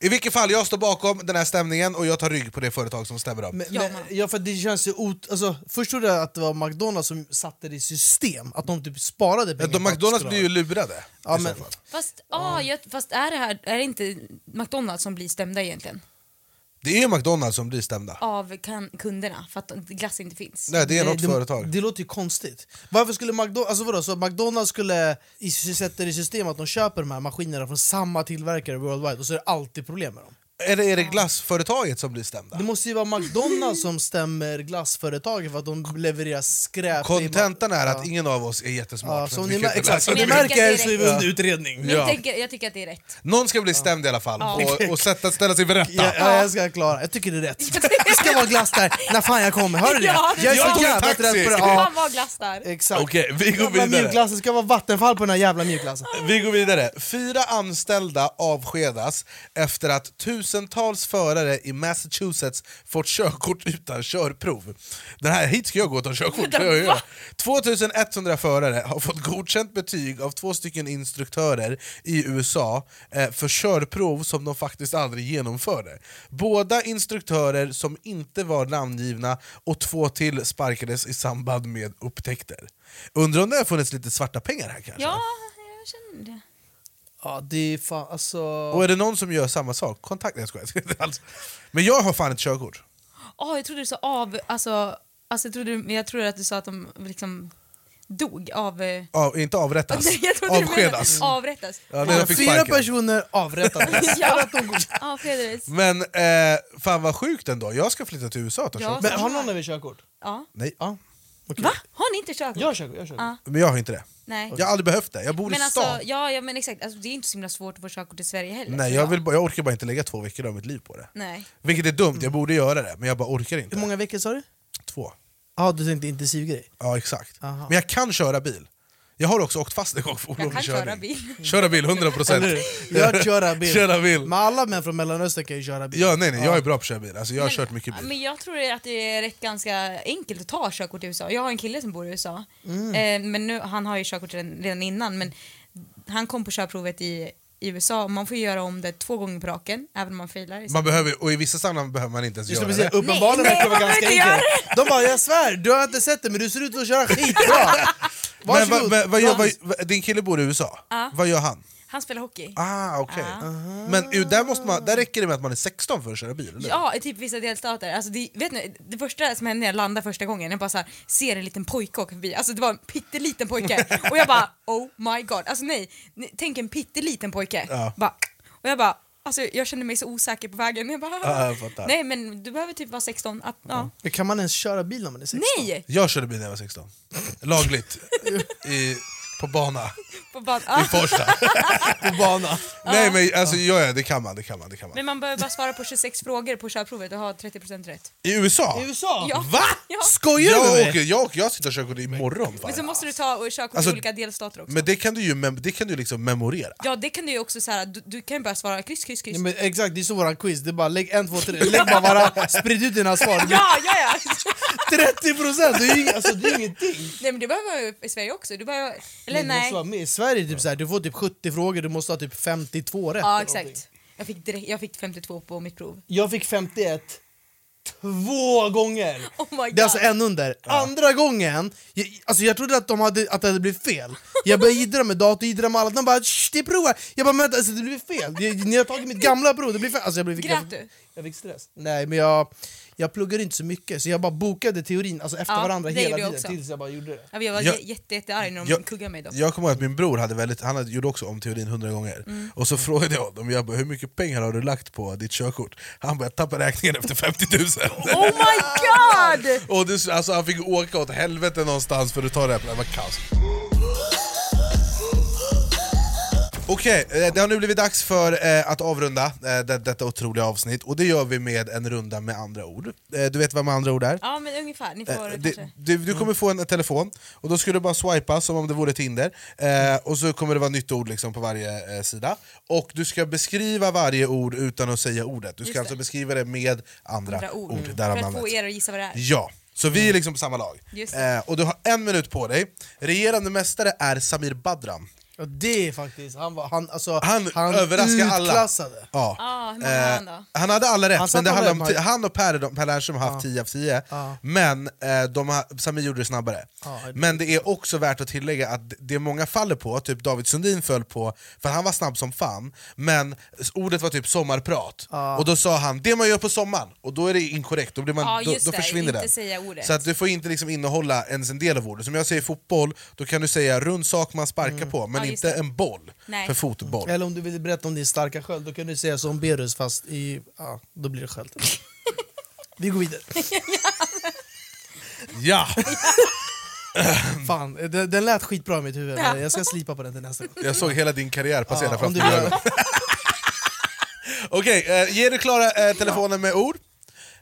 I vilket fall, jag står bakom den här stämningen och jag tar rygg på det företag som stämmer dem.
Men,
Ja,
men,
man.
ja, för det känns ju ot- alltså, Först trodde jag att det var McDonalds som satte det i system, att de typ sparade pengar.
Men de
på att
McDonalds
skulle
blir
ha
ju
det.
lurade.
Ja,
i så
men-
fall.
Fast, ah, jag, fast är det här, är det inte McDonalds som blir stämda egentligen?
Det är ju McDonalds som blir stämda.
av kan- kunderna för att glass inte finns.
Nej, det är
Nej,
något
det,
företag.
Det låter ju konstigt. Varför skulle McDonalds, alltså vadå, så McDonalds skulle i, sätta det i system att de köper de här maskinerna från samma tillverkare worldwide och så är det alltid problem med dem?
Eller är det glassföretaget som blir stämda?
Det måste ju vara McDonalds som stämmer glassföretagen för att de levererar skräp. i-
Kontentan är
Ja.
att ingen av oss är jättesmart.
Ja,
för
som
vi
ni,
kan
mär-
inte
exakt,
läsa
som ni
Men jag tycker att
märker
det är
så är vi
rätt.
under utredning.
Men jag, tänker, jag tycker att det är rätt.
Någon ska bli stämd i alla fall
Ja.
och, och sätta, ställa sig vid rätta.
Ja, ja, jag ska klara. Jag tycker det är rätt. Det ska vara glass där när fan jag kommer. Hör du det?
Ja,
Jag är
jag
så
tog en
jävla
taxi.
trött på det. Ja,
Fan vad glass där.
exakt.
Okej, vi går
Jävla
vidare.
Mjukglassen ska vara vattenfall på den här jävla mjukglassen.
Vi går vidare. Fyra anställda avskedas efter att tusentals förare i Massachusetts fått körkort utan körprov. Den här, hit ska jag gå och ta körkort.
Va?
Ja, ja. 2100 förare har fått godkänt betyg av två stycken instruktörer i USA eh, för körprov som de faktiskt aldrig genomförde. Båda instruktörer som inte var namngivna och två till sparkades i samband med upptäckter. Undrar om det har funnits lite svarta pengar här kanske?
Ja, jag känner det.
Ja, det är fan alltså...
Och är det någon som gör samma sak, kontakta jag skojar. inte alls. Men jag har fan ett körkort.
Åh, jag trodde du sa av, alltså, alltså jag, trodde, men jag trodde att du sa att de liksom dog av... eh,
Av, inte avrättas,
Nej, jag trodde du menade
avskedas.
Mm. Avrättas.
Ja, det är jag fick
Fyra
sparken.
personer avrättades.
Ja, avskedades.
Men eh, fan vad sjukt ändå, jag ska flytta till USA och ta
Ja.
körkort.
Men har någon av er körkort?
Ja.
Nej,
Ja. okej.
Va? Har ni inte körkort?
Jag har körkort. Jag har körkort.
Ja.
men jag har inte det.
Nej.
Jag har aldrig behövt det, jag bor
Men
i stan.
alltså, ja, ja men exakt. Alltså, det är inte så himla svårt att få körkort i Sverige heller.
Nej,
så
jag,
ja.
vill, bara- jag orkar bara inte lägga två veckor av mitt liv på det.
Nej. Mm.
Vilket är dumt, jag borde göra det men jag bara orkar inte.
Hur många veckor sa du?
Två.
Ja, du tänkte intensivgrej.
Ja exakt.
Aha.
Men jag kan köra bil. Jag har också åkt fast en gång för
Jag kan
olovlig körning.
köra bil.
Köra bil, 100%.
Jag köra bil.
Köra bil.
Men alla män från Mellanöstern kan ju köra bil.
Ja, nej, nej, jag är bra på att köra bil, alltså, jag har kört mycket bil.
Men jag tror att det är rätt ganska enkelt att ta körkort i USA. Jag har en kille som bor i USA. Eh, men nu, han har ju körkort redan, redan innan men han kom på körprovet i, i USA och man får ju göra om det två gånger på raken även om man failar.
Man behöver, och i vissa sammanhang behöver man inte ens
Just
göra
det,
det.
precis. Uppenbarligen verkar det vara
nej,
ganska
man behöver
enkelt. De bara, jag svär, du har inte sett det men du ser ut att köra skitbra.
Men,
Varsågod.
vad, men, vad gör, vad, vad- din kille bor i USA,
Ja.
vad gör han?
Han spelar hockey.
Ah, okej. Men ju, där, måste man, där räcker det med att man är 16 för att köra bil? Eller?
Ja, i typ vissa delstater. Alltså det, vet ni, det första som hände när jag landade första gången, jag bara så här, ser en liten pojke åka förbi. Alltså det var en pytteliten pojke. Och jag bara oh my god. Alltså nej, ni- tänk en pytteliten pojke.
Ja.
Bara, och jag bara, alltså jag kände mig så osäker på vägen. Jag bara,
Ja, jag fattar.
nej men du behöver typ vara 16. Att, ja.
Men Kan man ens köra bil när man är 16?
Nej!
Jag körde bil när jag var 16, lagligt, i, på bana.
På På bad- ah.
i Farsta. på banan. Nej men alltså, ja, ja, det kan man. Det kan man, det kan man.
Men man behöver bara svara på 26 frågor på körprovet och ha 30% rätt.
I USA?
I USA?
Ja.
Va?
Ja.
Skojar du med
Jag,
mig?
åker, jag, åker, jag sitter och körkort imorgon. Fan.
Men så måste du ta och körkort
Alltså,
i olika delstater också.
Men det kan du ju mem- det kan du liksom memorera.
Ja, det kan du ju också så här, du, du kan ju bara svara kryss, kryss, kryss.
Nej, men exakt, det är så våran quiz. Det är bara lägg en, två, tre, lägg bara varandra, sprid ut dina svar. Det blir
Ja, ja, ja!
30 procent! Det är ju ing- alltså, det är ingenting.
nej men det behöver man ju i Sverige också. Du behöver, eller
Men Du måste
nej.
vara med. I Sverige är det typ så här, du får typ 70 frågor, du måste ha typ 52 rätt.
Ja,
eller någonting.
exakt. Jag fick, direkt, jag fick 52 på mitt prov.
Jag fick 51 två gånger!
Oh my god.
Det är alltså en under. Andra gången, jag, alltså jag trodde att, de hade, att det hade blivit fel. Jag började jiddra med datorn, jiddra med alla, de bara "Shh, det provar. Jag bara vänta, alltså, det blev fel. Jag, ni har tagit mitt gamla prov, det blir fel. Alltså, jag blev,
Grät du?
Jag fick stress. Nej, men jag, jag pluggade inte så mycket, så jag bara bokade teorin alltså, efter
Ja,
varandra
det
hela
gjorde jag
tiden
också.
tills jag bara gjorde det.
Ja, Jag var
Jag-
jag, jätte, jättearg när de
jag-
kuggade mig då.
Jag kommer ihåg att min bror hade väldigt, han hade, gjorde också om teorin hundra gånger.
Mm.
Och så frågade jag honom jag bara, hur mycket pengar har du lagt på ditt körkort. Han bara, jag tappade räkningen efter 50 000.
Oh my god!
Och det, alltså, han fick åka åt helvete någonstans för att ta det här, det var kaos. Okej, eh, det har nu blivit dags för eh, att avrunda eh, det, detta otroliga avsnitt och det gör vi med en runda med andra ord. Eh, du vet vad med andra ord är?
Ja men ungefär, ni får
Eh, det-
kanske...
Du, du kommer få en telefon, och då ska du bara swipa som om det vore Tinder, eh, och så kommer det vara nytt ord liksom på varje eh, sida. Och du ska beskriva varje ord utan att säga ordet. Du ska
Just det.
alltså beskriva det med andra,
Andra ord. Mm.
ord. Där har
För att
man
få
det.
er att gissa vad det är.
Ja, så vi är liksom på samma lag.
Just det.
Eh, och du har en minut på dig. Regerande mästare är Samir Badran.
Ja, det är faktiskt, han, var, han, alltså,
Han, överraskar alla.
utklassade.
Ja. Eh,
Ah, hur många har han då?
Han hade alla rätt,
Han
men
satt
det
på
handlar om
vem,
ti-
Mike?
han och Per, de, per Lernström har haft 10 av 10,
Ja.
men eh, de har, Samir gjorde det snabbare.
Ja, det-
Men det är också värt att tillägga att det många faller på, typ David Sundin föll på, för han var snabb som fan, men s- ordet var typ sommarprat, och då sa han det man gör på sommaren, och då är det inkorrekt, då, blir man,
Ja,
då,
just
då
det,
försvinner
inte
det.
säga ordet.
Så att du får inte liksom innehålla ens en del av ordet. Som jag säger fotboll, då kan du säga rund sak man sparkar
Mm.
på, men
Ja, just
inte
det.
en boll,
Nej.
för fotboll.
Eller om du vill berätta om din starka sköld, då kan du säga som Berus fast i... Ja, då blir det sköld. Vi går vidare.
Ja!
Fan, den, den lät skitbra i mitt huvud.
Ja.
Jag ska slipa på den till nästa gång.
Jag såg hela din karriär passera
Ja, om
framför
du
mina
vill.
ögon. Okej, eh, ge du Klara eh, telefonen med ord.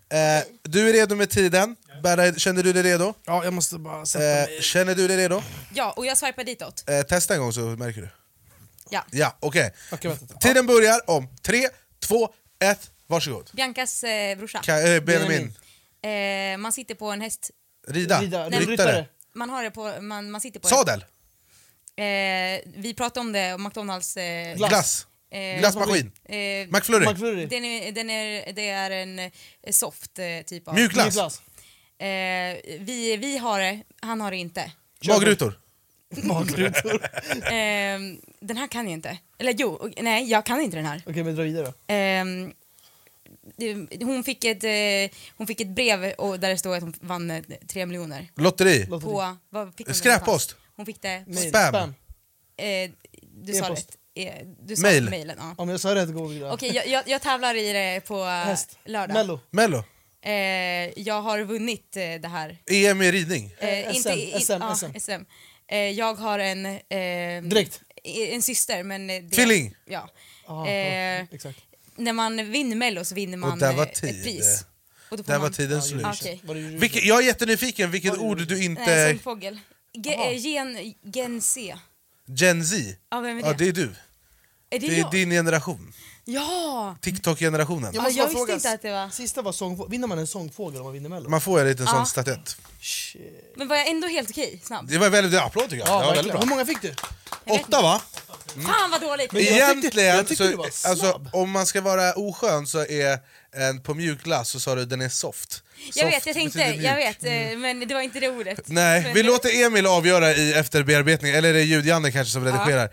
Eh, du är redo med tiden. Berra, känner du dig redo?
Ja, jag måste bara sätta mig.
Eh, känner du dig redo?
Ja, och jag swipar ditåt.
Eh, testa en gång så märker du.
Ja.
Ja, okej.
Okej, vänta.
Tiden börjar om tre, två, ett. varsågod.
Biancas eh, brorsa.
Ka- eh, Benjamin,
Benjamin.
Eh, man sitter på en häst.
rida,
Rida-
nej,
ryttare,
Man har det på... Man, man sitter på
sadel,
En, eh, vi pratade om det, och McDonalds... Eh,
Glass.
glass,
eh,
glassmaskin,
Eh,
McFlurry,
McFlurry.
den är, den är, det är en eh, soft eh, typ av...
mjukglass,
Niklas.
Eh, vi, vi har det, han har det inte.
magrutor.
Magrutor.
Eh, den här kan jag inte. Eller jo, och- nej jag kan inte den här.
Okej, men dra vidare.
Ehm, det- hon, fick ett, eh, hon fick ett brev och där det stod att hon vann eh, 3 miljoner.
Lotteri,
Lotteri.
På, vad fick hon det
Skräppost.
någonstans? Hon fick det,
Mail.
Spam.
eh, du sa
E-post.
rätt. Eh, Du sa
Mail.
mailen, ja.
Om jag sa rätt går vi vidare.
Okej, jag, jag, jag tävlar i det på eh,
Häst.
lördag.
Mello.
mello,
Eh, jag har vunnit eh, det här.
EM E i ridning,
Eh,
Eh, SM, SM.
ja, SM. Eh, jag har en... Eh,
Direkt.
e- En syster men... eh, Det,
Tvilling.
Ja.
Ja,
Eh,
ja, Exakt.
när man vinner Mello så vinner man
där var
eh,
tid.
ett pris. Och då får
där var
man-
tiden slut.
Ja, okej.
Var det ju-
Vilket, jag är jättenyfiken vilket ord du
Nej,
inte...
som fågel. Ge- eh, gen, gen C.
Gen Z?
Ja, vem är det?
Ja, det är du.
Är det,
Det är
jag?
din generation.
Ja!
TikTok-generationen.
Ja,
måste
jag
bara
visste
fråga,
inte att det var...
Sista var sångfågel. Vinner man en sångfågel om man vinner Mello?
Man får en liten
Ja.
sån statyett.
Shit.
Men var jag ändå helt okej? Snabb.
Det var väldigt applåd tycker jag.
Ja,
det var väldigt
verkligen.
bra.
Hur många fick du?
Åtta va?
Fan vad dåligt!
Men jag tyckte-
Egentligen,
jag tyckte du
så,
var snabb.
alltså, om man ska vara oskön så är en på mjukglass så sa du den är soft.
jag
Soft
vet, jag tänkte,
betyder mjuk.
jag vet, eh, men det var inte det ordet.
Nej,
men,
vi låter Emil avgöra i efterbearbetning, eller det är ljud-Janne kanske som redigerar.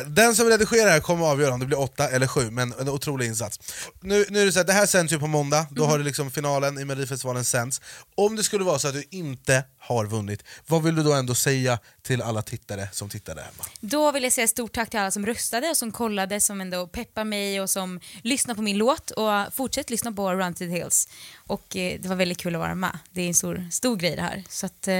Eh, Den som redigerar kommer avgöra om det blir åtta eller sju, men en otrolig insats. Nu, nu är det så att det här sänds ju på måndag, då har du liksom finalen i Melodifestivalen sänds. Om det skulle vara så att du inte har vunnit, vad vill du då ändå säga till alla tittare som tittar där hemma?
Då vill jag säga stort tack till alla som röstade och som kollade, som ändå peppar mig och som lyssnar på min låt. Och fortsätt lyssna på Run to the Hills. Och eh, det var väldigt kul att vara med. Det är en stor, stor grej det här. Så att, eh,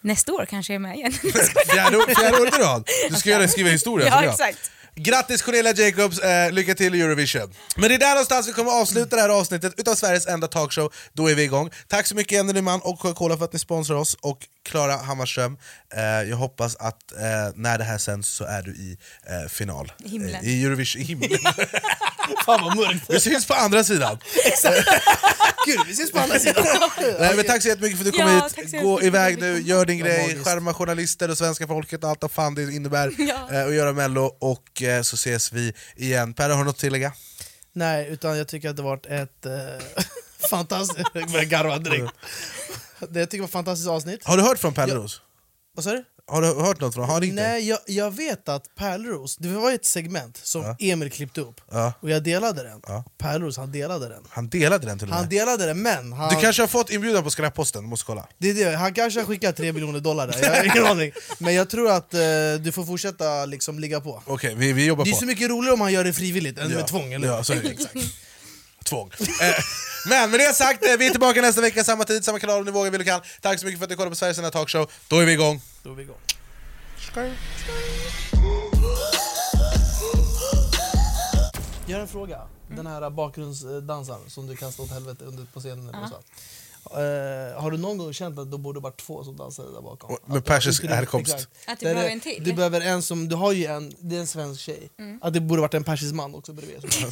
Nästa år kanske jag är med igen.
Fjärde, år- fjärde året i rad. Du ska göra, skriva historia.
Ja,
som jag.
exakt.
Grattis Cornelia Jacobs, eh, lycka till i Eurovision. Men det är där någonstans vi kommer avsluta det här avsnittet utav Sveriges enda talkshow. Då är vi igång. Tack så mycket Jenny Nyman och Coca-Cola för att ni sponsrar oss och Klara Hammarström. Eh, jag hoppas att eh, när det här sänds så är du i eh, final.
Himlen.
Eh, I Eurovision. I himlen. Fan vad mörkt. Vi syns på andra sidan.
Gud, vi ses på andra sidan!
Nej, men tack så jättemycket för att du kom
Ja, tack så
hit.
jättemycket
Gå
för att
iväg
vi
nu,
kom.
gör din
Vad
grej,
magiskt.
skärma journalister och svenska folket och allt vad fan det innebär
Ja.
eh, att göra Mello. Och eh, så ses vi igen. Per, har du något att tillägga?
Nej, utan jag tycker att det varit ett eh, fantastiskt... Jag börjar garva direkt. Det jag tycker var ett fantastiskt avsnitt.
Har du hört från Pärleros?
Vad sa du?
Har du hört något från Har han ringt dig?
Nej, jag, jag vet att Pärleros, det var ett segment som Emil klippte upp
Ja.
och jag delade den.
Ja.
Pärleros, han delade den.
Han delade den till och
Han
med.
delade den, men han,
Du kanske har fått inbjudan på skräpposten, måste kolla.
det är det, han kanske har skickat 3 miljoner dollar där. Jag har ingen aning. Men jag tror att eh, du får fortsätta liksom ligga på.
Okej, vi, vi jobbar
Det är
på.
så mycket roligare om han gör det frivilligt än
Ja.
med tvång. Eller?
Ja, så är det. Exakt. Tvång. Eh, Men med det sagt, eh, vi är tillbaka nästa vecka, samma tid, samma kanal om ni vågar, vill och kan. Tack så mycket för att ni kollade på Sveriges enda talkshow. Då är vi igång.
Då är vi igång. Jag har en fråga.
Mm.
Den här bakgrundsdansaren som du kastade åt helvete under på scenen. när du sa. Eh, har du någon gång känt att det borde varit två som dansade där bakom?
Och- med
Att-
persisk
inte du-
härkomst.
exakt.
Att du
Där
behöver
det-
en till? Mm.
Du behöver en som, du har ju en, det är en svensk tjej. Att det borde varit en persisk man också bredvid. som-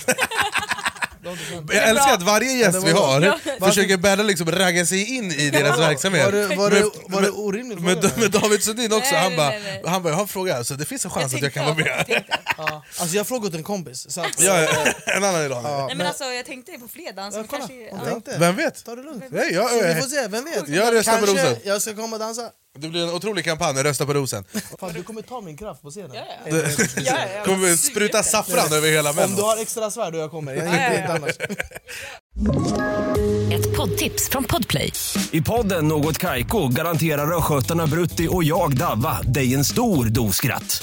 Du har inte känt det?
Jag älskar att varje gäst vi har
Ja.
försöker Berra liksom ragga sig in i deras verksamhet.
Var det, var det, var det
Men-
orimligt?
men- men- men David Sundin också,
Nej,
han
nej,
bara,
nej, nej.
han bara, jag har en fråga, så det finns en chans Alltså, att jag
tänkte
kan vara
jag
med.
tänkte.
ja. Alltså jag har frågat en kompis. Så att,
Ja, ja, en annan idag.
Ja,
Nej, men alltså, jag tänkte på fredagen. Så
Ja, kolla,
kanske,
hon
ja.
tänkte.
Vem vet?
Ta det lugnt.
Nej, jag,
Så vi
jag,
får se, vem vet?
Jag röstar på
Kanske
rosen.
jag ska komma och dansa.
det blir en otrolig kampanj, rösta på rosen.
Fan, du kommer ta min kraft på scenen.
Ja, ja.
Nej, nej, nej.
Ja, ja, ja.
Kommer spruta saffran över hela
Om du
Mello.
har extra svärd och jag kommer. Jag
ja, ja.
inte annars.
Ett poddtips från Podplay.
I podden Något Kaiko garanterar östgötarna Brutti och jag, Davva, dig en stor dos skratt.